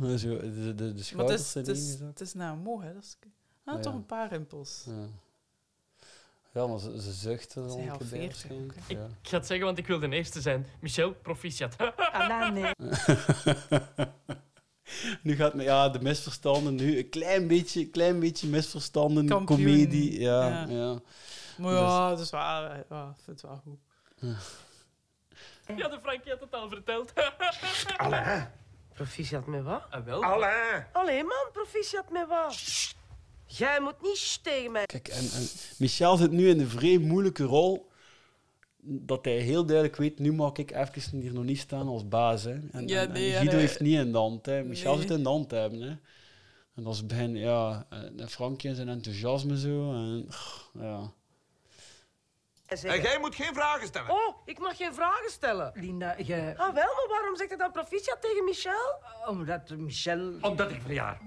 Huh? Zo, de, de, de Maar het schouders is, zijn het is, ingezakt. het is naar omhoog, hè. Dat is, ah, Ah, toch ja. een paar rimpels. Ja. ja, maar ze, ze zuchten Ze al zijn een al keer bij veertig waarschijnlijk. ook, Ja. Ik ga het zeggen, want ik wil de eerste zijn. Michel, proficiat. Ah, nee. nu gaat me, ja, de misverstanden nu een klein beetje, klein beetje misverstanden, Kampioen. comedie. Ja, Ja. ja. Maar Dus- ja, dat is wel... eh, ja, ik vind het wel goed. Ja, de Frankie had het al verteld. Proficiat met wat? Ah, wel. Allee. Allee, man, proficiat met wat? Jij moet niet sh tegen mij. Kijk, en, en Michel zit nu in een vrij moeilijke rol, dat hij heel duidelijk weet, nu mag ik even hier nog niet staan als baas. Hè. En, Ja, en- en nee, en Guido hij- heeft niet in de hand, hè. Michel Nee. zit in de hand te hebben. Hè. En als begin, ja, eh, Frankie en zijn enthousiasme zo, en, ja. En jij moet geen vragen stellen. Oh, ik mag geen vragen stellen. Linda, jij... Eh, Ah, wel, maar waarom zegt hij dan proficiat tegen Michel? Omdat Michel... Omdat ik verjaar.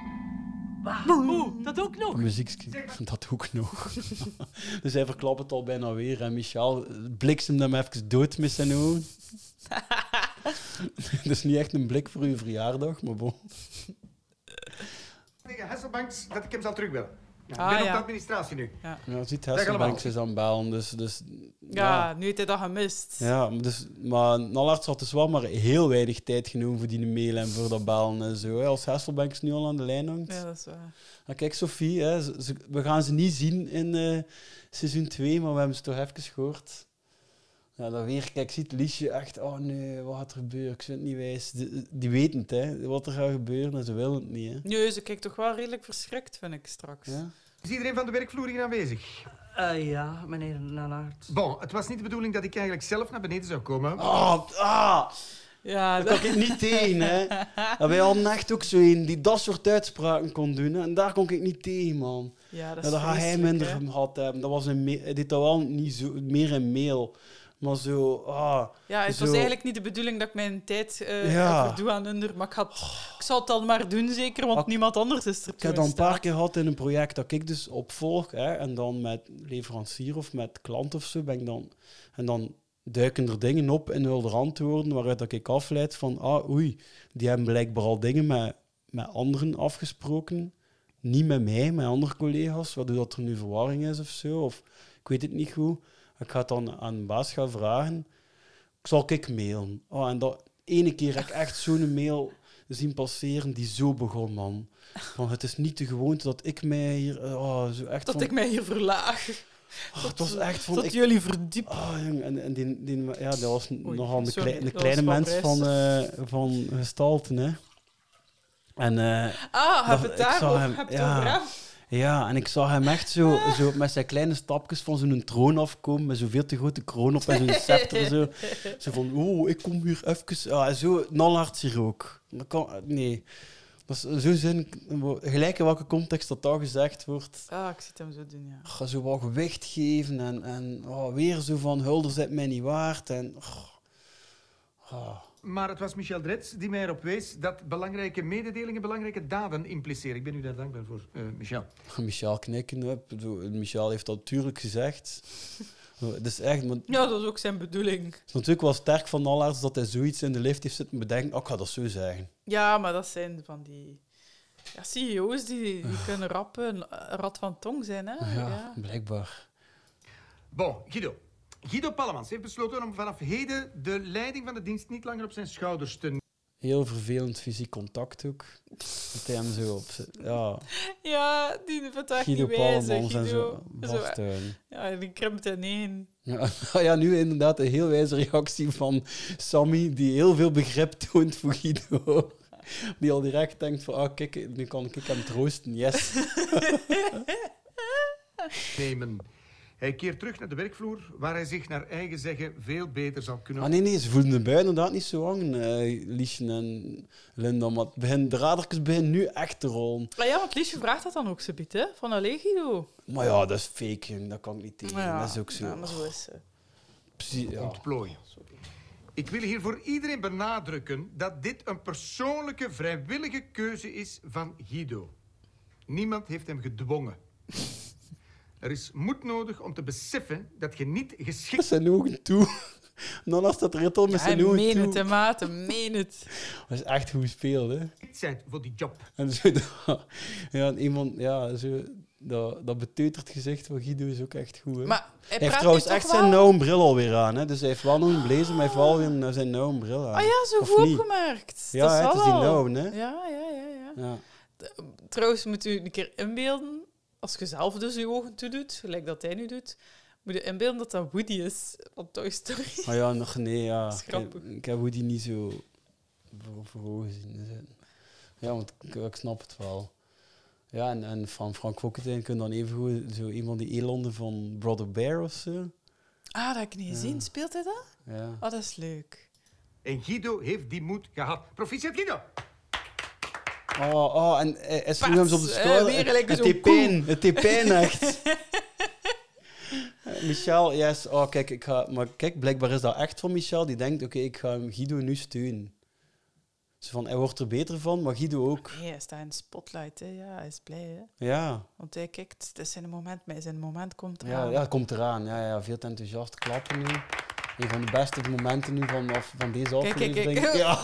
Boe, dat ook nog. Muziekje, dat ook nog. dus hij verklapt het al bijna weer. En Michel bliksemt hem even dood met zijn ogen. Dat is niet echt een blik voor uw verjaardag, maar bon. Tegen Hasselbanks dat ik hem zal terug willen. Ja, Ah, ik ben ja. op de administratie nu. Ja. Ja, ziet Zeg allemaal. Hesselbanks is aan het bellen, dus... dus Ja, nu heeft hij dat gemist. Ja, maar dus, maar Nallarts had dus wel maar heel weinig tijd genomen voor die mail en voor dat bellen en zo. Hè. Als Hasselbanks nu al aan de lijn hangt. Ja, dat is waar. Ah, kijk, Sophie, hè, ze- ze- we gaan ze niet zien in eh, seizoen 2, maar we hebben ze toch even gehoord. Ja, dan weer, kijk, ziet Liesje echt, oh nee, wat gaat er gebeuren? Ik vind het niet wijs. Die, die weten het, hè, wat er gaat gebeuren en ze willen het niet. Hè. Nee, ze kijkt toch wel redelijk verschrikt, vind ik straks. Is iedereen van de werkvloer hier aanwezig? Eh, ja, meneer Nalaert. Bon, het was niet de bedoeling dat ik eigenlijk zelf naar beneden zou komen. Oh, ah! Ja, Daar kon ik niet tegen, hè. En wij hadden echt ook zo een die dat soort uitspraken kon doen. hè, En daar kon ik niet tegen, man. Ja, dat Ja, is dat had hij vreselijk, minder hè. gehad hebben. Dat was een me- hij deed dat wel niet zo, meer een mail. Maar zo, ah... Ja, het zo, was eigenlijk niet de bedoeling dat ik mijn tijd eh Ja. verdoe aan Under, maar ik, had, ik zal het dan maar doen, zeker, want niemand anders is er Ik heb toen dat een staan. paar keer gehad in een project dat ik dus opvolg. Hè, en dan met leverancier of met klant of zo ben ik dan... En dan duiken er dingen op in hulder antwoorden waaruit dat ik afleid van... Ah, oei, die hebben blijkbaar al dingen met, met anderen afgesproken. Niet met mij, met andere collega's. Waardoor dat er nu verwarring is of zo. Of ik weet het niet goed. Ik ga het dan aan de baas gaan vragen. Zal ik mailen? Oh, en dat ene keer heb ik echt zo'n mail zien passeren die zo begon, man. Van, het is niet de gewoonte dat ik mij hier... eh, Oh, zo echt Dat van- ik mij hier verlaag. Oh, het was echt van... dat ik- jullie verdiepen. Ah, jong, en, en die, die, ja, dat was Oei, nogal een, sorry, klei- een dat was kleine van mens Bruis. van, eh van gestalte, hè. En, eh, Ah, heb het ik daarover- zag heb het over ja, hem? ja, en ik zag hem echt zo, zo met zijn kleine stapjes van zo'n troon afkomen, met zo'n veel te grote kroon op en zo'n scepter. Zo, zo van, oh, ik kom hier even... Ah, zo nalhard hier ook. Dat kan... Nee. Dat is zo zin... Gelijk in welke context dat daar gezegd wordt Ah, ik zit hem zo doen, ja. ga zo wat gewicht geven en, en oh, weer zo van hulder zit mij niet waard. En, oh. Ah. Maar het was Michel Drets die mij erop wees dat belangrijke mededelingen belangrijke daden impliceren. Ik ben u daar dankbaar voor, eh, Michel. Michel knikken, hè. Ik bedoel, Michel heeft dat natuurlijk gezegd. Het is echt, maar Ja, dat is ook zijn bedoeling. het is natuurlijk wel sterk van Nallarts dat hij zoiets in de lift heeft zitten bedenken. Oh, ik ga dat zo zeggen. Ja, maar dat zijn van die... Ja, E CEO's die, die kunnen rappen, een rat van tong zijn, hè. Ja, Ja. blijkbaar. Bon, Guido. Guido Pallemans heeft besloten om vanaf heden de leiding van de dienst niet langer op zijn schouders te Heel vervelend fysiek contact ook. Dat hij hem zo op... zit. Ja, Ja, die vindt echt Guido niet wijze, Palmans en Guido. zo vasthouden. ja, en die krimpt ineen. Ja, nou ja, nu inderdaad een heel wijze reactie van Sammy, die heel veel begrip toont voor Guido. Die al direct denkt van, ah, kijk, nu kan ik hem troosten, yes. nemen. Hij keert terug naar de werkvloer, waar hij zich naar eigen zeggen veel beter zal kunnen... Ah nee, nee, ze voelen erbij inderdaad niet zo hangen, eh Liesje en Linda. Maar het begint- de radertjes beginnen nu echt te rollen. Maar Ah, ja, want Liesje vraagt dat dan ook zo hè? Van alleen Guido. Maar ja, dat is fake, jong. dat kan ik niet tegen. Ja, dat is ook zo. ja, maar zo is ze. Precies, ja. ontplooien. Ik wil hier voor iedereen benadrukken dat dit een persoonlijke, vrijwillige keuze is van Guido. Niemand heeft hem gedwongen. Er is moed nodig om te beseffen dat je niet Met geschikt zijn ogen toe. Nonna staat er al met Hij zijn ogen meen het, toe. hè, maat. Hij meen het. Dat is echt hoe speelde. hè. bent voor die job. En zo, dat- ja, en iemand, ja, zo, dat, dat beteuterd gezicht van Guido is ook echt goed. Hè? Maar hij heeft praat trouwens nu toch echt zijn wel- nauwe bril alweer aan. Hè? Dus hij heeft wel nog een blazer, maar hij heeft wel weer een- zijn nauwe bril aan. Ah ja, zo Of goed niet? opgemerkt. Ja, dat hè, het is die zal wel. nauwe, hè? Ja, ja, ja, ja. Ja. D- Trouwens, moet u een keer inbeelden, als je zelf dus je ogen toedoet, gelijk dat hij nu doet, moet je inbeelden dat dat Woody is van Toy Story. Ah ja, nog nee, ja. Dat is Ik, heb- grappig. ik heb Woody niet zo voor, voor ogen zien zitten. Ja, want ik, ik snap het wel. Ja, en, en van Frank Fokkentijn kun je dan even goed zo een van die elanden van Brother Bear of zo. Ah, dat heb ik niet gezien. Speelt hij dat? Ja. Ah, dat is leuk. En Guido heeft die moed gehad. Proficiat, Guido! Oh, oh, en hij hij sloeg hem zo op de Pats, schouder. eh, weer gelijk het zo'n deed pijn, koe. het deed pijn echt. Eh, Michel, yes. Oh, kijk, ik ga... Maar kijk, blijkbaar is dat echt van Michel. Die denkt, oké, ik ga hem Guido nu steunen. Zo van, hij wordt er beter van, maar Guido ook. Nee, hij staat in de spotlight, hè. Ja, hij is blij, hè. Ja. Want hij kijkt, het is zijn moment, maar zijn moment komt Ja, eraan. ja, het komt eraan. Ja, ja, veel te enthousiast klappen nu. Een van de beste momenten nu van, af- van deze Kijk, kijk, aflevering. kijk. Ja.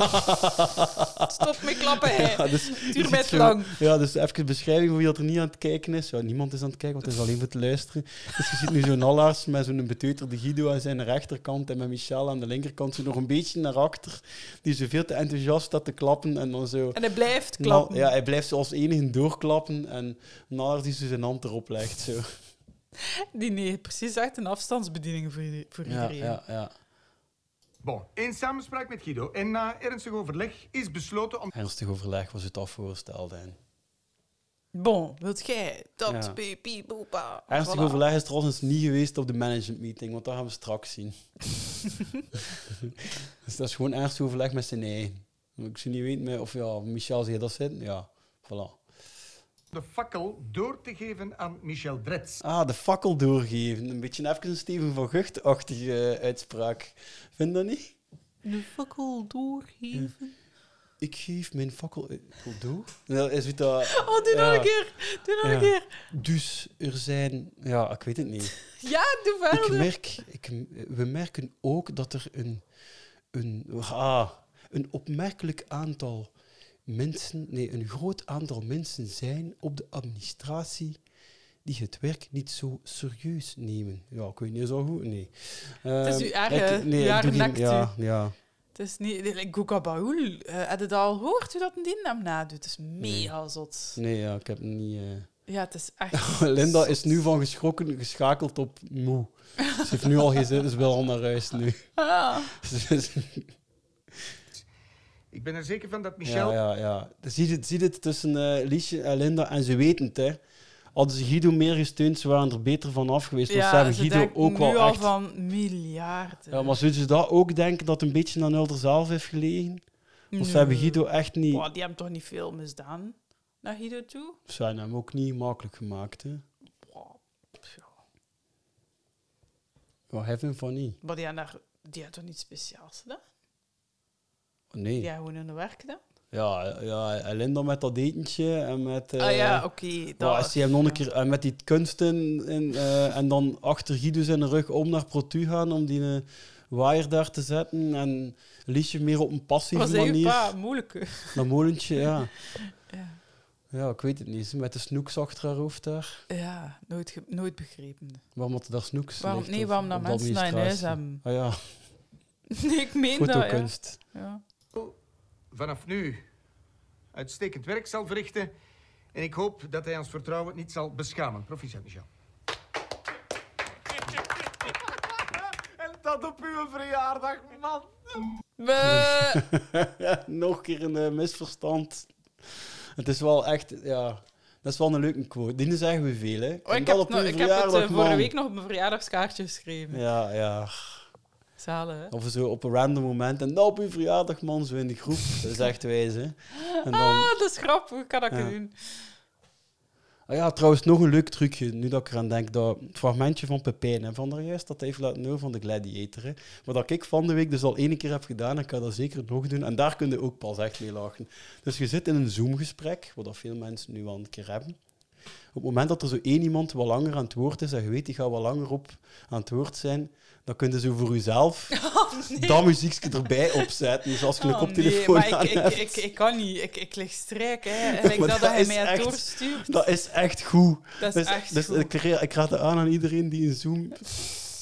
Stop met klappen, hè. Ja, dus, Het je duurt mij ziet te zo- lang. Ja, dus even beschrijving voor wie dat er niet aan het kijken is. Ja, niemand is aan het kijken, want het is alleen voor het luisteren. Dus je ziet nu zo'n Allaars met zo'n beteuterde Guido aan zijn rechterkant en met Michel aan de linkerkant zo nog een beetje naar achter. Die zo veel te enthousiast staat te klappen en dan zo... En hij blijft klappen. Nou, ja, hij blijft zo als enige doorklappen en Nalaars die zo zijn hand erop legt. Zo. Die nee, precies echt een afstandsbediening voor, ieder- voor iedereen. ja. Bon, in samenspraak met Guido en na ernstig overleg is besloten om... Ernstig overleg was het afvoorgesteld. En... Bon, wilt jij dat, Ja. baby, boepa? Ernstig Voilà. overleg is trouwens niet geweest op de management meeting, want dat gaan we straks zien. dus dat is gewoon ernstig overleg met zijn eigen. Ik zie niet weten met- of ja, Michel zie je dat zitten. Ja, voilà. de fakkel door te geven aan Michel Dretz. Ah, de fakkel doorgeven. Een beetje even een Steven van Gucht-achtige eh, uitspraak. Vind je dat niet? De fakkel doorgeven. Ik geef mijn fakkel eh, door. Ja, is het eh, dat, Oh, doe nog een keer. Doe nog een keer. Dus er zijn... Ja, ik weet het niet. Ja, doe verder. Ik merk, ik, we merken ook dat er een, een, ah, een opmerkelijk aantal mensen, nee, een groot aantal mensen zijn op de administratie die het werk niet zo serieus nemen. Ja, ik weet niet zo goed, nee. Het is Ehm, uw eigen, ik- uw ik eigen doe die- nekt, ja, u. ja. Het is niet... Like, Guga Baul, eh, heb je dat al gehoord, hoe dat een die hem nadoet? Het is mega zot. Nee, ja, ik heb niet... eh, Ja, het is echt... Linda is nu van geschrokken geschakeld op moe. Ze heeft nu al geen zin, ze wil al naar huis nu. Ah. Ze is- Ik ben er zeker van dat Michel... Ja, ja, ja. Dan Zie je het, zie je het tussen eh, Liesje en Linda en ze weten het, hè. Hadden ze Guido meer gesteund, ze waren er beter van af geweest. want ze hebben ze dus Guido denken ook nu wel al echt... van miljarden. Ja, maar zullen ze dat ook denken dat het een beetje aan Hulder zelf heeft gelegen? Want ze hebben Nee. Guido echt niet... Boah, die hebben toch niet veel misdaan naar Guido toe? Ze hebben hem ook niet makkelijk gemaakt, hè. Ja, heaven van niet. Maar die hebben, daar, die hebben toch niet speciaals gedaan? Nee. Die hebben gewoon hun werk gedaan? Ja, ja, en Linda met dat etentje en met... eh, Ah ja, oké, dat- maar Ze hebben nog een keer eh, met die kunsten in, eh, en dan achter Guido zijn rug om naar Protu gaan om die eh, waaier daar te zetten. En Liesje meer op een passieve Was hij manier. pa moeilijke? Dat molentje, ja. Ja. Ja, ik weet het niet. Met de snoeks achter haar hoofd daar. Ja, nooit, ge- nooit begrepen. Waarom had ze daar snoeks? Waarom- ligt, nee, of- waarom dat of mensen dat in huis administratie? Ah ja. Nee, ik meen dat. ja. Fotokunst. Ja. vanaf nu uitstekend werk zal verrichten. En ik hoop dat hij ons vertrouwen niet zal beschamen. Proficiat, Michel. En dat op uw verjaardag, man. Nog een keer een eh, misverstand. Het is wel echt, ja... Dat is wel een leuke quote. Die zeggen we veel, hè. Oh, En ik dat heb, het op nog- uw ik heb het eh, verjaardag, vorige man. week nog op mijn verjaardagskaartje geschreven. Ja, ja. Zalen, hè? Of zo op een random moment. En nou op uw verjaardag, man, zo in de groep. Dat is echt wijs, hè. En dan... Ah, dat is grappig. Ik kan dat Ja. doen. Ah ja, trouwens, nog een leuk trucje, nu dat ik eraan denk. Dat het fragmentje van Pepijn hè, van daar juist, dat hij heeft laten horen van de Gladiator. Hè. Maar dat ik van de week dus al één keer heb gedaan, en ik ga dat zeker nog doen. En daar kun je ook pas echt mee lachen. Dus je zit in een Zoom-gesprek, wat dat veel mensen nu al een keer hebben. Op het moment dat er zo één iemand wat langer aan het woord is, en je weet, die gaat wat langer op aan het woord zijn, dan kun je zo voor jezelf dat muziekje erbij opzetten. Dus als je een Oh, koptelefoon nee, maar aan ik, ik, hebt. ik, ik kan niet. Ik, ik lig strijk, hè. En ik Maar dat, dat hij is mij het echt- doorstuurt. Dat is echt goed. Dat is Dus- echt dus goed. Ik, ra- ik raad het aan aan iedereen die een Zoom...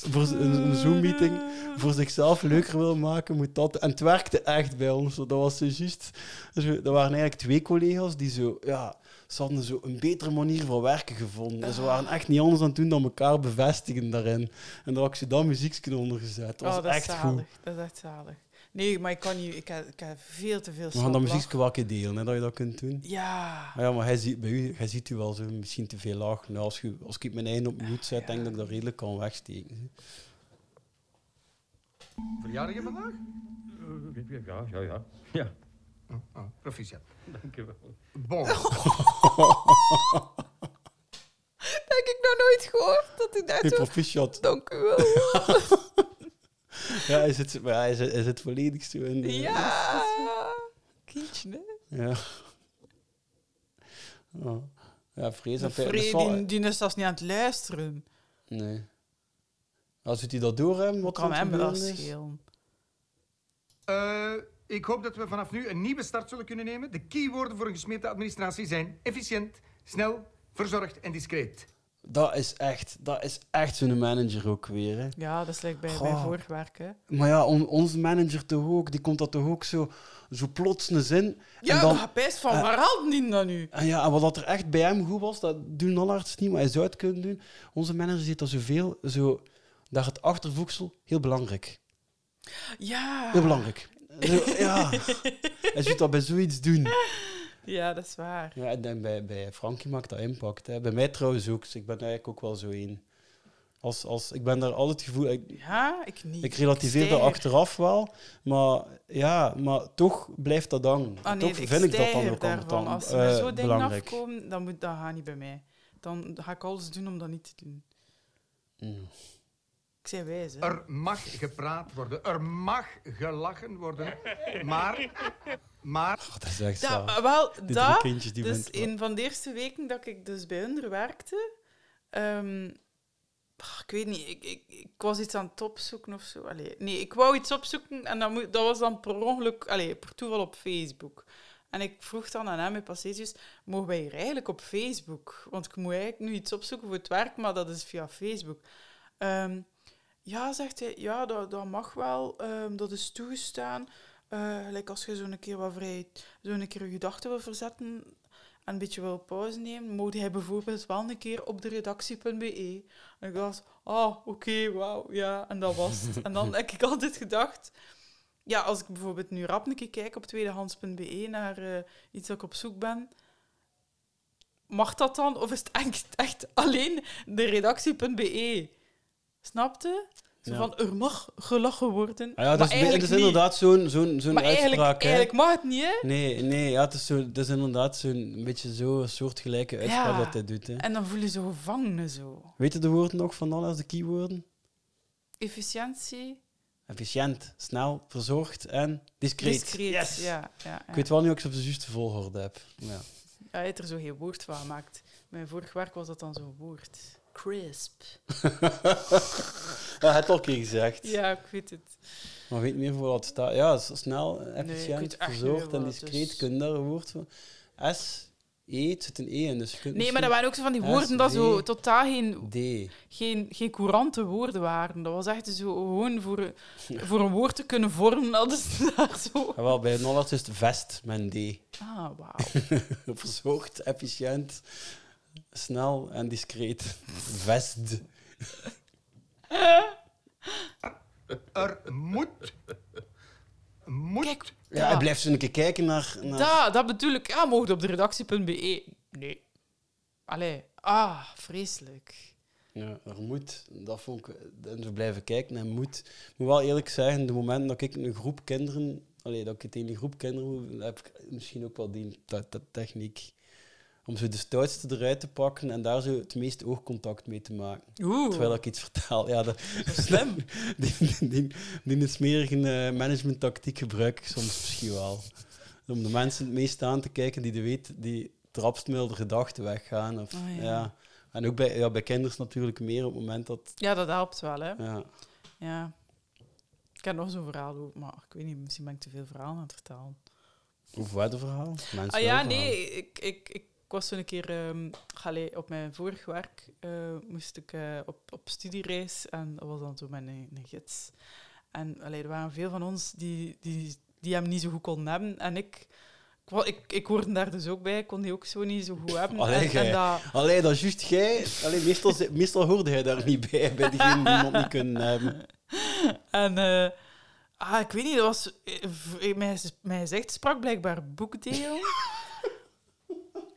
Voor z- een, een Zoom-meeting voor zichzelf leuker wil maken, moet dat. En het werkte echt bij ons. Dat was zo juist. Dus we- dat waren eigenlijk twee collega's die zo, ja, ze hadden zo een betere manier van werken gevonden. En ze waren echt niet anders aan het doen dan elkaar bevestigen daarin. En daar had ik ze dan muziekje onder gezet. Dat was Oh, dat echt is goed. zalig. Dat is echt zalig. Nee, maar ik kan niet. Ik heb, ik heb veel te veel We gaan dat slappe muziekje wel een keer delen, hè, dat je dat kunt doen. Ja. Ah ja maar hij ziet, bij u, hij ziet u wel zo misschien te veel laag. Nou, als, je, als ik mijn eind op mute zet, denk ik dat ik dat redelijk kan wegsteken. Verjaardag vandaag? Eh, Ja, ja, ja. ja. Proficiat. Dank je wel. Oh, Bon. lach. Dat heb ik nog nooit gehoord. Dat ik Hey, daar zo... proficiat. Dank u wel. Ja, hij zit, maar hij zit, hij zit volledig zo in de... ja. Kindje, hè. Ja. Oh. Ja, vrees en pijn. Dat is Vrede, wel- die, die is zelfs niet aan het luisteren. Nee. Als u die dat door hebben, wat Kan er aan hem het dat gebeuren is? schelen. Eh, ik hoop dat we vanaf nu een nieuwe start zullen kunnen nemen. De keywoorden voor een gesmeten administratie zijn efficiënt, snel, verzorgd en discreet. Dat is echt, dat is echt zo'n manager ook weer. Hè. Ja, dat is like bij mijn Goh. vorig werk, hè. Maar ja, on- onze manager toch ook, die komt dat toch ook zo, zo plots een zin. Ja, en dan, dan, maar best van eh, waar haalt die dat nu? En, ja, en wat dat er echt bij hem goed was, dat doen alle artsen niet, maar hij zou het kunnen doen. Onze manager ziet dat zoveel, zo, daar het achtervoegsel, heel belangrijk. Ja. Heel belangrijk. Zo, ja. Hij ziet dat bij zoiets doen. Ja, dat is waar. Ja, en dan bij, bij Frankie maakt dat impact. Hè. Bij mij trouwens ook, dus ik ben eigenlijk ook wel zo één. Als, als, ik ben daar altijd het gevoel... Ik, Ja, ik niet. ik relativeer dat stijg. achteraf wel, maar, ja, maar toch blijft dat hangen. Ah, nee, toch ik vind ik dat dan stijg ook daarvan. allemaal Als ze met eh, zo'n dingen belangrijk. afkomen, dan moet dat gaat niet bij mij. Dan ga ik alles doen om dat niet te doen. Mm. Ik zei wijs, hè. Er mag gepraat worden, er mag gelachen worden, maar... maar dat is echt Ja, maar wel, Die drie dat kindjes die dus bent wel. een van de eerste weken dat ik dus bij hun werkte, ehm, ah, ik weet niet, ik, ik, ik was iets aan het opzoeken of zo. Allee, nee, ik wou iets opzoeken en dat, moet, dat was dan per ongeluk, allee, per toeval op Facebook. En ik vroeg dan aan hem in passages, mogen wij hier eigenlijk op Facebook? Want ik moet eigenlijk nu iets opzoeken voor het werk, maar dat is via Facebook. Ehm, ja, zegt hij, ja, dat, dat mag wel, ehm, dat is toegestaan. Eh, gelijk als je zo'n keer wat vrij, zo'n keer je gedachten wil verzetten en een beetje wil pauze nemen, moet hij bijvoorbeeld wel een keer op de redactie.be. E En ik dacht, ah, oké, wauw, ja, en dat was het. En dan heb ik altijd gedacht, ja, als ik bijvoorbeeld nu rap een keer kijk op tweedehands.be naar eh, iets dat ik op zoek ben, mag dat dan? Of is het echt, echt alleen de redactie.be? E? Snapte? Zo Ja. van, er mag gelachen worden. Ah ja, maar dat is, het is niet. inderdaad zo'n zo'n zo'n Maar eigenlijk- uitspraak. hè. eigenlijk mag het niet, hè? Nee, nee ja, het, is zo, het is inderdaad zo'n een beetje zo'n soortgelijke uitspraak Ja. dat hij doet. Hè. En dan voelen ze gevangenen zo. Weet je de woorden nog van alles, de keywoorden? Efficiëntie, Efficiënt, snel, verzorgd en discreet. discreet. Ja, ja, ja. Ik weet wel niet of ik ze op de juiste volgorde heb. Ja. Ja, Hij heeft er zo geen woord van gemaakt. Mijn vorig werk was dat dan zo'n woord. Crisp. Ja, het al een keer gezegd. Ja, ik weet het. Maar weet niet meer voor wat het staat. Ja, s- snel, ik weet efficiënt, echt niet meer verzorgd wat en het discreet. Kun je daar een woord voor? S? E, het zit een E in, dus je kunt Nee, misschien maar dat waren ook zo van die woorden S, dat D, zo totaal geen, D. geen, geen courante woorden waren. Dat was echt zo gewoon voor, voor een woord te kunnen vormen. hadden ze daar zo. Ah, wel, bij Nollards is het vest met een D. Ah, wauw. Verzorgd, efficiënt, snel en discreet. Vest. Er moet. moet Ja, hij blijft zo een keer kijken naar... naar... Dat, dat bedoel ik. Ah, mocht op de redactie.be. E. Nee. Allee. Ah, vreselijk. Ja, er moet, dat vond ik, en we blijven kijken en moet. Ik moet wel eerlijk zeggen, de moment dat ik een groep kinderen, allee, dat ik het in een groep kinderen moet, heb ik misschien ook wel die te- te- techniek om zo de stoutste eruit te pakken en daar zo het meest oogcontact mee te maken. Oeh. Terwijl ik iets vertel. Ja, dat, slim. die, die, die, die smerige eh, managementtactiek gebruik ik soms misschien wel. Om de mensen het meest aan te kijken die de weet, die trapsmilde gedachten weggaan. Of, Oh, ja. ja. En ook bij, ja, bij kinderen natuurlijk meer op het moment dat. Ja, dat helpt wel, hè. Ja. Ja. Ik heb nog zo'n verhaal ook, maar ik weet niet, misschien ben ik te veel verhalen aan het vertellen. Hoe verder het verhaal? Mensen ah ja, willen verhaal. nee, ik, ik, ik was toen een keer ehm, allee, op mijn vorig werk, eh, moest ik eh, op, op studiereis en dat was dan toen mijn eh, een, een gids. En allee, er waren veel van ons die, die, die hem niet zo goed konden hebben. En ik, ik, wa- ik, ik hoorde daar dus ook bij, ik kon die ook zo niet zo goed hebben. Allee, en, en jij. dat, Allee, dat is juist jij. Allee, meestal, ze- meestal hoorde hij daar niet bij, bij diegenen die iemand niet kunnen hebben. En eh, ah, ik weet niet, dat was, eh, v- eh, mijn, mijn gezicht sprak blijkbaar boekdeel.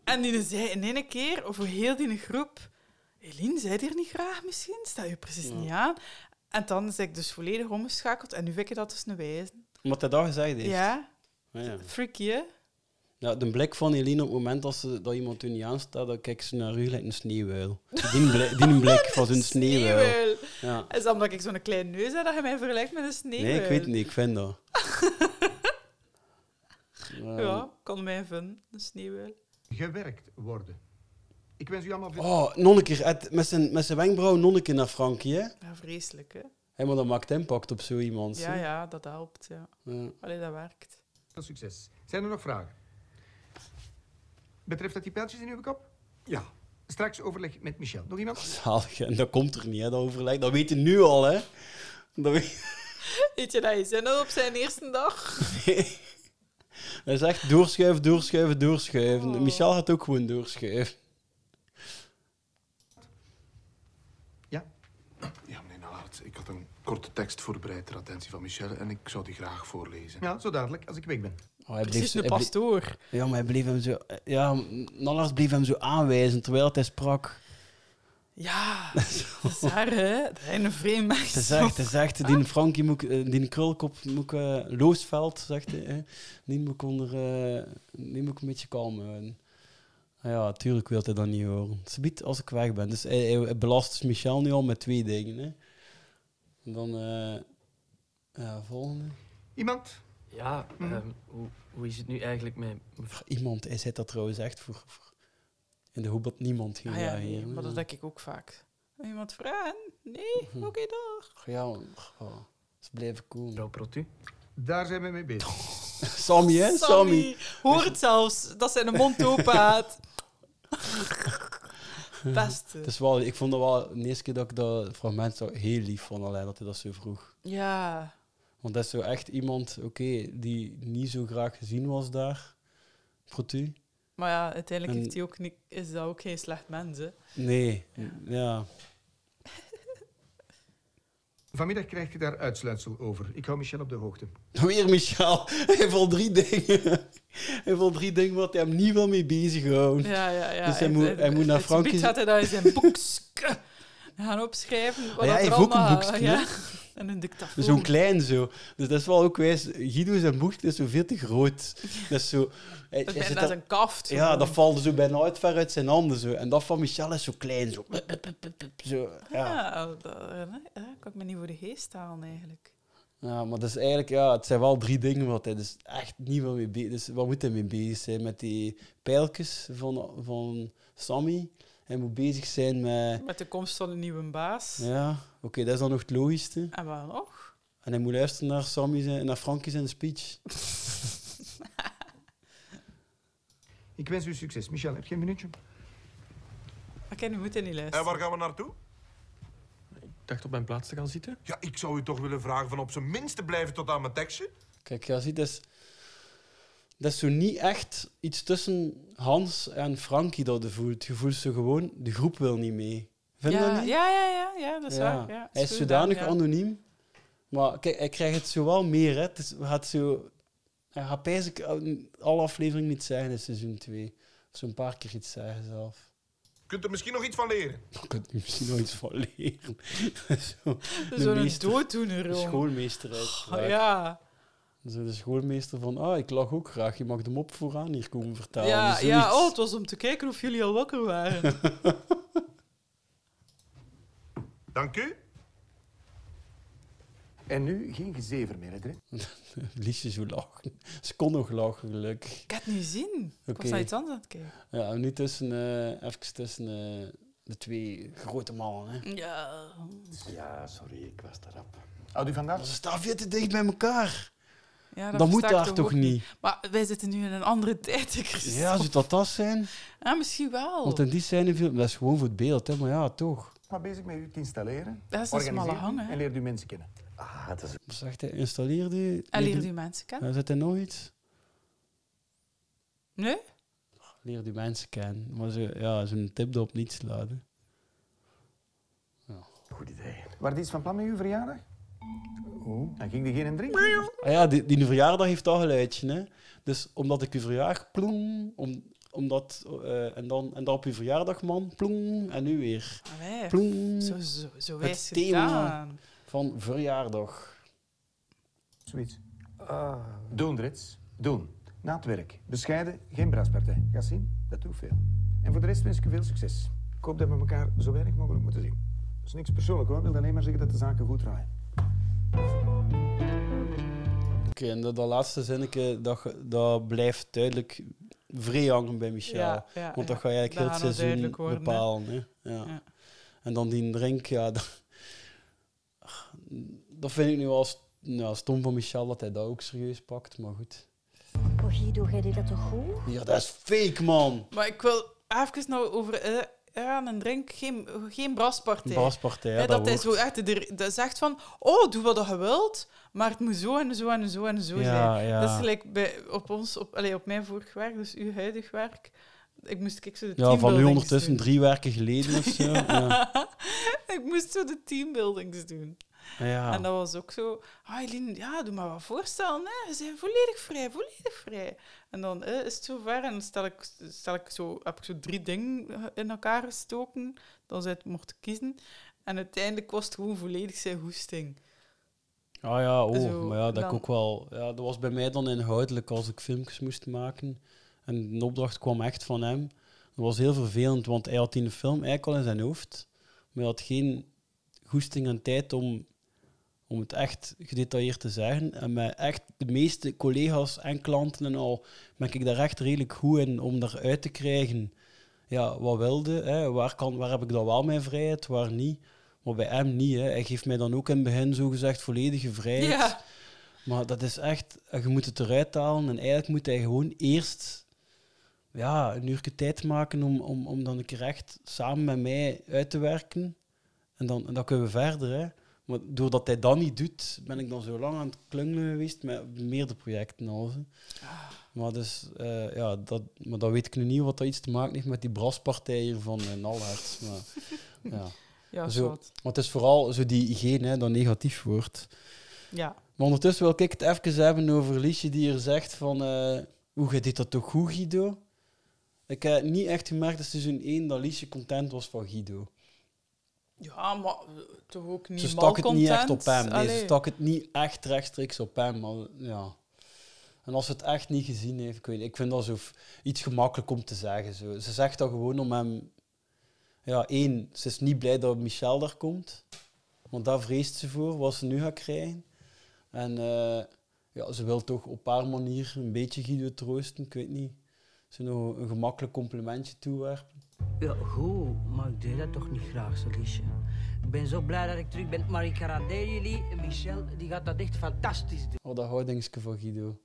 en die zei in één keer, over heel die groep, Eline, zij hier niet graag misschien? Sta je precies niet aan? En dan is ik dus volledig omgeschakeld en nu vind ik dat dus een wijze. Wat hij dat gezegd heeft. Ja, Ah, ja. freaky hè? Ja, de blik van Eline op het moment dat, ze, dat iemand u niet aanstaat, dan kijkt ze naar u gelijk een sneeuwuil. Die, blik- die blik van zo'n sneeuwuil. Sneeuwuil. Ja. Is dat omdat ik zo'n klein neus heb dat je mij vergelijkt met een sneeuw? Nee, ik weet het niet. Ik vind dat. Ehm, Ja, kan mij vinden, een sneeuwuil. gewerkt worden. Ik wens u allemaal veel. Oh, nonnekeer. Het- Met zijn, met zijn wenkbrauw nonneke naar Frankie, hè? Ja, vreselijk, hè? Hé, maar dat maakt impact op zo iemand. Ja, hè? ja, dat helpt, ja. Ja. Allee, dat werkt. Veel succes. Zijn er nog vragen? Betreft dat die pijltjes in uw kop? Ja. Straks overleg met Michel. Nog iemand? Zalig. En dat komt er niet, hè, dat overleg. Dat weet je nu al, hè? Dat weet... Weet je dat je zin had op zijn eerste dag? Dat is echt doorschuiven, doorschuiven, doorschuiven. Oh. Michel gaat ook gewoon doorschuiven. Ja, meneer Nalaert, ik had een korte tekst voorbereid ter attentie van Michel en ik zou die graag voorlezen. Ja, zo dadelijk, als ik weg ben. Oh, hij Precies zo- een hij bleef- pastoor. Ja, maar hij bleef hem zo... Ja, Nallars bleef hem zo aanwijzen terwijl dat hij sprak. Ja, dat is haar, hè? Dat hij een vreemd Ah Ze meisje zegt, ze zegt, die Frankie moet, ik- eh, die krulkop moet ik, eh, Loosveld, zegt hij, hè. die moet ik onder, eh, die moet ik een beetje kalm houden. Ah Ja, tuurlijk wil hij dat niet horen. Ze biedt als ik weg ben. Dus hij, hij- hij belast Michel nu al met twee dingen. Hè. En Dan, eh, ja, volgende. Iemand? Ja, ehm, hoe, hoe is het nu eigenlijk met mevrouw? Iemand, hij zet dat trouwens echt voor, voor- in de hoop dat niemand ging Ah ja, reageren, nee, maar hè. dat denk ik ook vaak. Wil Iemand vragen? Nee? Mhm. Oké, dag. Ja, oh, ze blijven cool. Mevrouw Protu? Daar zijn we mee bezig. Sammy, hè? Sammy. Hoor het zelfs, dat zijn de mond open had. Beste. Het is wel, ik vond dat wel de eerste keer dat ik dat fragment zo heel lief vond, alleen dat hij dat zo vroeg. Ja. Want dat is zo echt iemand, oké, die niet zo graag gezien was daar. Protu? Maar ja, uiteindelijk En- heeft hij ook niet, is dat ook geen slecht mens, hè? Nee, ja. Vanmiddag krijgt u daar uitsluitsel over. Ik hou Michel op de hoogte. Weer Michel. Hij heeft al drie dingen. Hij heeft al drie dingen wat hij hem niet wil mee bezighoudt. Ja, ja, ja. Dus hij moet, hij moet naar Frankrijk. Frankrijk. gaat hij dat in zijn boekske gaan opschrijven. Wat Ah Ja, hij dat er heeft ook een allemaal- boekske, Ja. hè? En een dictafoon. Zo'n klein zo. Dus dat is wel ook wijs. Guido zijn boek is zo veel te groot. Dat is zo... Hij, hij Dat is zit bijna daar- zijn kaft. Ja, dat valt zo bijna uit ver uit zijn handen. Zo. En dat van Michel is zo klein. Zo. Pup, pup, pup, pup, zo. Ja. Ja, dat, dat kan ik me niet voor de geest halen eigenlijk. ja, maar dat is eigenlijk, ja, het zijn wel drie dingen wat hij dus echt niet wil mee bezig is. Dus wat moet hij mee bezig zijn? Met die pijltjes van, van Sammy. Hij moet bezig zijn met. Met de komst van een nieuwe baas. Ja, oké, dat is dan nog het logischste. En wat nog? En hij moet luisteren naar Sammy zijn, naar Frankie zijn speech. Ik wens u succes. Michel, heb je een minuutje? Maar ken, we moeten niet luisteren. En waar gaan we naartoe? Ik dacht op mijn plaats te gaan zitten. Ja, ik zou u toch willen vragen van op zijn minst te blijven tot aan mijn tekstje. Kijk, ja, zie, dat is, dat is zo niet echt iets tussen Hans en Frankie dat je voelt. Je voelt zo gewoon, de groep wil niet mee. Vind je ja, dat niet? Ja, ja, ja, ja, dat is Ja. waar. Ja, dat hij is goed zodanig gedaan, ja. anoniem. Maar kijk, hij krijgt het zo wel meer. Hè. Het is, hij gaat zo... Hij gaat bijzonder alle afleveringen niet zeggen in seizoen 2. Of zo'n paar keer iets zeggen zelf. Kunt er misschien nog iets van leren. Daar kan hij misschien nooit van leren. zo, Zo'n meester. dooddoener, De jong. schoolmeester uit. Oh, ja. Zo de schoolmeester van, ah, ik lach ook graag. Je mag de mop vooraan hier komen vertellen. Ja, dus Zoiets. ja, oh, het was om te kijken of jullie al wakker waren. Dank u. En nu geen gezever meer, hè, Dre? oh, Liesje zo lachen. Ze kon nog lachen, gelukkig. Ik had het niet zien. Ik was Oké. naar iets anders aan het kijken. Ja, en nu tussen, eh even tussen eh, de twee grote mannen. Mm. Hè. Ja. Ja, sorry, ik was te rap. Houdt u vandaag? Ze staan veel te dicht bij elkaar. ja Dat moet versta ik daar toch ook niet? Maar wij zitten nu in een andere tijd, Christophe. Ja, zou dat dat zijn? Ja, misschien wel. Want in die scène viel... Dat is gewoon voor het beeld, hè. Maar ja, toch. Maar bezig met u te installeren. Dat is een smalle organiseren hang, hè. En leert u mensen kennen. Ah, dat is... Wat zegt hij? Dus Installeer die... En Ah, leer die mensen kennen. Ja, zit er nog iets? Nee? Leer die mensen kennen. Maar zo, ja, zo'n tip erop niet slaan. hè. Goed idee. Waar die is van plan met uw verjaardag? Oh. Dan ging die geen drinken. Ah ja, die, die verjaardag heeft dat geluidje. Hè? Dus omdat ik u verjaar, ploem. Om, omdat, eh, en, dan, en dan op uw verjaardag, man, ploem. En nu weer. Allee, Ploem. Zo, zo, zo wijs het thema gedaan. van verjaardag. Zoiets. Ah. Doen, Drits. Doen. Na het werk. Bescheiden, geen braspartij. Ga zien, dat doet veel. En voor de rest wens ik u veel succes. Ik hoop dat we elkaar zo weinig mogelijk moeten zien. Dat is niks persoonlijk hoor. Ik wil alleen maar zeggen dat de zaken goed draaien. Oké, en dat, dat laatste zinnetje, dat, ge- dat blijft duidelijk vrij hangen bij Michel. Ja, ja, want dat ja. ga je eigenlijk Dat heel het gaat nog seizoen duidelijk worden, hè. bepalen. Hè? Ja. Ja. En dan die drink, ja... Dat, dat vind ik nu al st- nou, stom van Michel, dat hij dat ook serieus pakt. Maar goed. Oh, Guido, jij deed dat toch goed? Ja, dat is fake, man! Maar ik wil even nou over... eh, ja, een drink. Geen, geen braspartij. Braspartij, ja, Hè, dat dat, hij zo woord. echt... de- Dat zegt van... Oh, doe wat je wilt, maar het moet zo en zo en zo en zo Ja, zijn. ja. Dat is gelijk bij, op ons... Op, allee, op mijn vorig werk, dus uw huidig werk... Ik moest ik zo de dus Ja, van nu teambuildings ondertussen doen. drie werken geleden of zo. Ja. ik moest zo de teambuildings doen. Ja. En dat was ook zo... Ah, Eline, ja, doe maar wat voorstellen. Hè. Ze zijn volledig vrij, volledig vrij. En dan eh, is het zover en dan stel ik, stel ik zo, heb ik zo drie dingen in elkaar gestoken. Dan zij het mocht kiezen. En uiteindelijk was het gewoon volledig zijn hoesting. Ah ja, oh, Zo, maar ja, dat ik dan- ook wel. Ja, dat was bij mij dan inhoudelijk als ik filmpjes moest maken. En de opdracht kwam echt van hem. Dat was heel vervelend, want hij had die film eigenlijk al in zijn hoofd. Maar hij had geen goesting en tijd om, om het echt gedetailleerd te zeggen. En met echt de meeste collega's en klanten en al, ben ik daar echt redelijk goed in om daaruit te krijgen. Ja, wat wilde, hè? Waar, kan, waar heb ik dan wel mijn vrijheid, waar niet. Maar bij hem niet. Hè. Hij geeft mij dan ook in het begin zogezegd volledige vrijheid. Ja. Maar dat is echt, eh, je moet het eruit halen. En eigenlijk moet hij gewoon eerst ja, een uurtje tijd maken om, om, om dan een keer echt samen met mij uit te werken. En dan, en dan kunnen we verder. Hè. Maar doordat hij dat niet doet, ben ik dan zo lang aan het klungelen geweest met meerdere projecten. Al, hè. maar, dus, eh, ja, dat, maar dat weet ik nu niet wat dat iets te maken heeft met die braspartij hier van uh, Nalhert. Maar, ja. Ja, zo, zot. want het is vooral zo die hygiëne hè, dat negatief wordt. Ja. Maar ondertussen wil ik het even hebben over Liesje die er zegt van... eh Hoe, jij deed dat toch goed, Guido? Ik heb niet echt gemerkt in seizoen 1 dat Liesje content was van Guido. Ja, maar eh, toch ook niet Ze stak het niet echt op malcontent. hem. Nee, ze Allee. stak het niet echt rechtstreeks op hem. Maar, ja. En als ze het echt niet gezien heeft, ik, weet, niet, ik vind dat zo f- iets gemakkelijk om te zeggen. Zo. Ze zegt dat gewoon om hem... Ja, één, ze is niet blij dat Michel daar komt. Want daar vreest ze voor, wat ze nu gaat krijgen. En eh, ja, ze wil toch op haar manier een beetje Guido troosten, ik weet niet. Ze nog een gemakkelijk complimentje toewerpen. Ja, goed, maar ik deed dat toch niet graag, zo liesje. Ik ben zo blij dat ik terug ben, maar ik garandeer jullie, Michel, die gaat dat echt fantastisch doen. Oh, dat houdingske van Guido.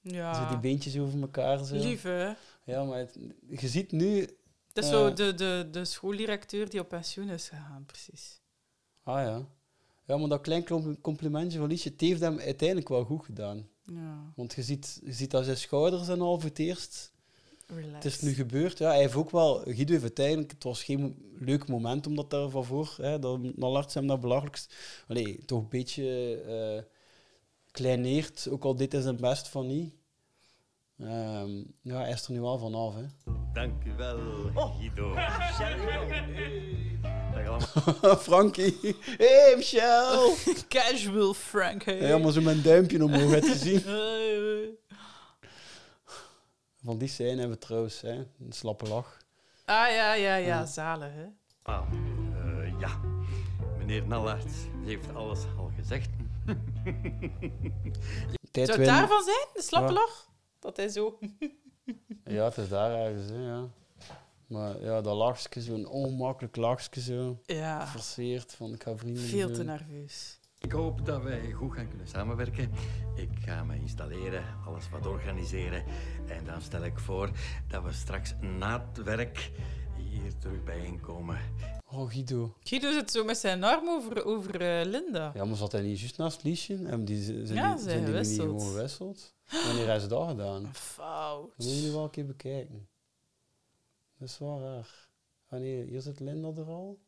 Ja. Zo die beentjes over elkaar. Zo. Lief, hè? Ja, maar het- je ziet nu... Dat is eh, zo de, de, de schooldirecteur die op pensioen is gegaan, precies. Ah ja. Ja, maar dat klein klom- complimentje van Liesje, het heeft hem uiteindelijk wel goed gedaan. Ja. Want je ziet, je ziet dat zijn schouders en al voor het eerst. Relax. Het is nu gebeurd. Ja, hij heeft ook wel... Guido heeft uiteindelijk... Het was geen mo- leuk moment, omdat daar van voor... Hè, dat Nallarts hem dat belachelijkst... Allee, toch een beetje eh, kleineert. Ook al dit is zijn best van niet. Ehm, ja, hij is er nu wel vanaf, hè. Dank u wel, Guido. Dag allemaal. Frankie. Hey, Michel! Casual Frank, hè? Ja, maar zo mijn duimpje omhoog had gezien. Eh, eh. Van die scène hebben we trouwens, hè. Een slappe lach. ah, ja, ja, ja, Ja. zalig, hè? Ah, eh, ja, meneer Nallaert heeft alles al gezegd. Tijd Zou het winnen. daarvan zijn, de slappe Ja. lach? Dat hij zo... Ja, het is daar ergens, hè, ja. Maar ja, dat lachje, zo'n ongemakkelijk lachje zo. Ja. Verseerd, van ik ga vrienden Veel te nerveus. Ik hoop dat wij goed gaan kunnen samenwerken. Ik ga me installeren, alles wat organiseren. En dan stel ik voor dat we straks na het werk hier terug bijeenkomen. Oh, Guido. Guido zit zo met zijn arm over, over eh, Linda. Ja, maar zat hij niet juist naast Liesje? Hebben die, zijn Ja, die, ze zijn die nu niet gewisseld. gewoon gewisseld? Wanneer hebben ze dat gedaan? Fout. Dat moeten jullie wel een keer bekijken. Dat is wel raar. Ah nee, hier zit Linda er al.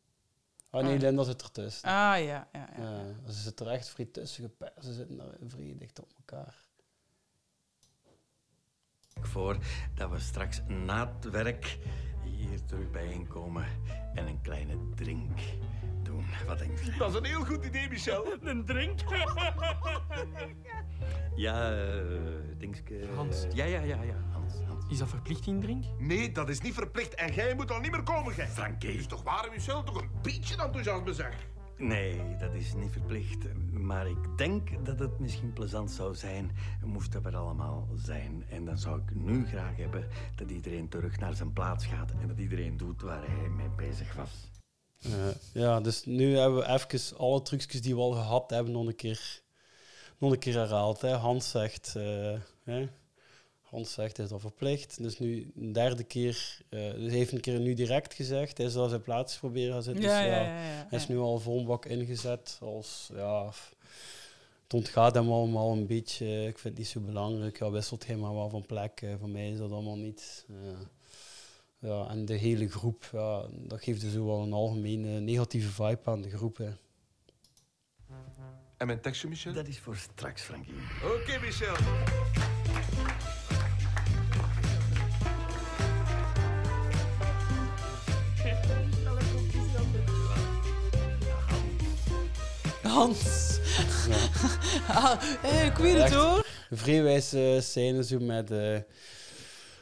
Ah nee, Ah. Linda zit ertussen. Ah, ja, ja, ja. Ja, ze zitten er echt vrij tussen geperst. Ze zitten daar vrij dicht op elkaar. Ik voor dat we straks Dus na het werk hier terug bijeenkomen en een kleine drink doen. Wat denk je? Dat is een heel goed idee, Michel. Een drink? Ja, eh Dingske. Hans. Ja, ja, ja, ja. Hans, Hans. Is dat verplicht in drink? Nee, dat is niet verplicht en jij moet al niet meer komen, gij. Frankie. Dus toch waar, Michel? Toch een beetje enthousiasme, zeg. Nee, dat is niet verplicht. Maar ik denk dat het misschien plezant zou zijn, moesten we er allemaal zijn. En dan zou ik nu graag hebben dat iedereen terug naar zijn plaats gaat en dat iedereen doet waar hij mee bezig was. Ja, ja, dus nu hebben we even alle trucjes die we al gehad hebben nog een keer, nog een keer herhaald. Hè. Hans zegt, eh, hè. Hans zegt, is dat verplicht. Dus nu een derde keer, eh, dus hij heeft een keer nu direct gezegd, hij zou zijn plaats proberen te zitten. Ja, dus ja, ja, ja, ja, hij is ja. nu al vol bak ingezet als, ja... f- Het ontgaat hem allemaal een beetje. eh, Ik vind het niet zo belangrijk. Ja, wisselt hij maar wel van plek. eh, Voor mij is dat allemaal niet. Ja. Ja, en de hele groep, ja, dat geeft dus ook wel een algemene negatieve vibe aan de groep. Hè. En mijn tekstje, Michel? Dat is voor straks, Frankie. Oké, Michel. Hans. Ja. ah, eh, ik weet het Echt hoor. Vrijwijze scènes zo met eh,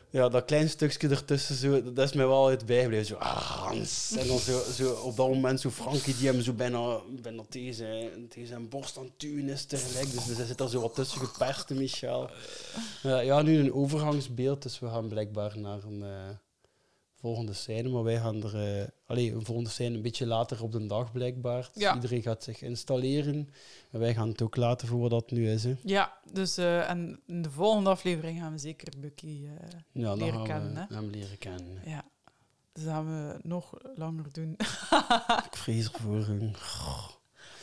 ja, dat klein stukje ertussen, zo, dat is mij wel uit bijgebleven. Zo, ah, Hans. En dan zo, zo, op dat moment zo Frankie die hem zo bijna, bijna tegen, zijn, tegen zijn borst aan het duwen is tegelijk. Dus, dus hij zit er zo wat tussen geperst, Michel. Ja, ja, nu een overgangsbeeld, dus we gaan blijkbaar naar een eh, volgende scène. Maar wij gaan er... eh, allee, een volgende scène een beetje later op de dag blijkbaar. Dus Ja. Iedereen gaat zich installeren. En wij gaan het ook laten voor wat dat nu is. Hè. Ja, dus eh, en in de volgende aflevering gaan we zeker Bucky eh, Ja, dan leren gaan we kennen. hè. hem leren kennen, hè. Ja, dus dat gaan we nog langer doen. Ik vrees ervoor. een-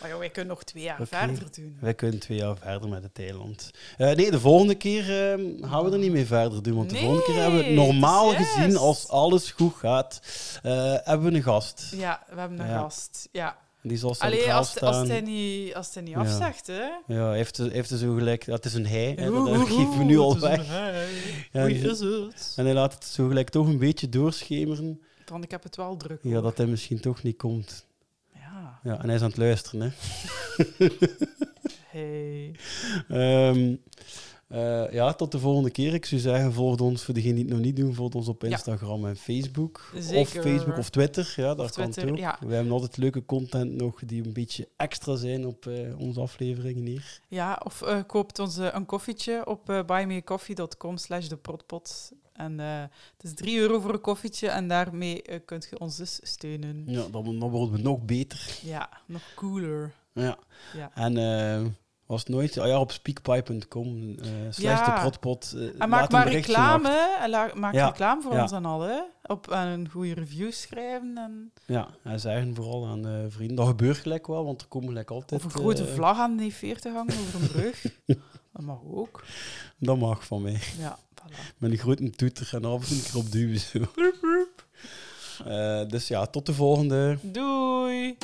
maar joh, wij kunnen nog twee jaar Oké. verder doen. Wij kunnen twee jaar verder met het eiland. Eh, nee, de volgende keer eh, gaan we er niet mee verder doen. Want de volgende keer hebben we Nee, normaal het is gezien, juist. als alles goed gaat, eh, hebben we een gast. Ja, we hebben een Ja. gast. Ja. Die zal Allee, centraal als, het- als staan. het hij niet, als het hij niet Ja. afzegt, hè? Ja, hij heeft, hij heeft dus ook gelijk. Dat is een hij. Hè, dat Oeh, dat oeh, geven we nu oeh, al het is een weg. hij. Ja, Oei, dus- is het? En hij laat het zo gelijk toch een beetje doorschemeren. Want ik heb het wel druk. Ja, dat hij misschien toch niet komt. Ja. ja en hij is aan het luisteren, hè? Hey. Ehm, eh, ja, tot de volgende keer. Ik zou zeggen, volg ons, voor degenen die het nog niet doen, volg ons op Instagram en Facebook. Of Zeker. Facebook of Twitter, ja, dat kan Twitter, ook. ja. We hebben altijd leuke content nog, die een beetje extra zijn op eh, onze afleveringen hier. Ja, of eh, koopt ons eh, een koffietje op eh, buymeacoffee.com slash de protpot. En eh, het is 3 euro voor een koffietje en daarmee eh, kunt je ons dus steunen. Ja, dan, dan worden we nog beter. Ja, nog cooler. Ja. Ja. En eh, Was het nooit? Ah ja, op speakpipe.com. eh slash Ja. de protpot. eh, en laat maak een maar berichtje reclame. achter. En la- maak Ja, reclame voor ja. ons en al, hè. Op, en een goede review schrijven. En Ja, en zeggen vooral aan eh, vrienden. Dat gebeurt gelijk wel, want er komen gelijk altijd... of een grote eh, vlag aan die 40 hangen over een brug. dat mag ook. Dat mag van mij. Ja, Met een grote toeter en af en toe een keer op duwen. Zo. Eh, dus ja, tot de volgende. Doei!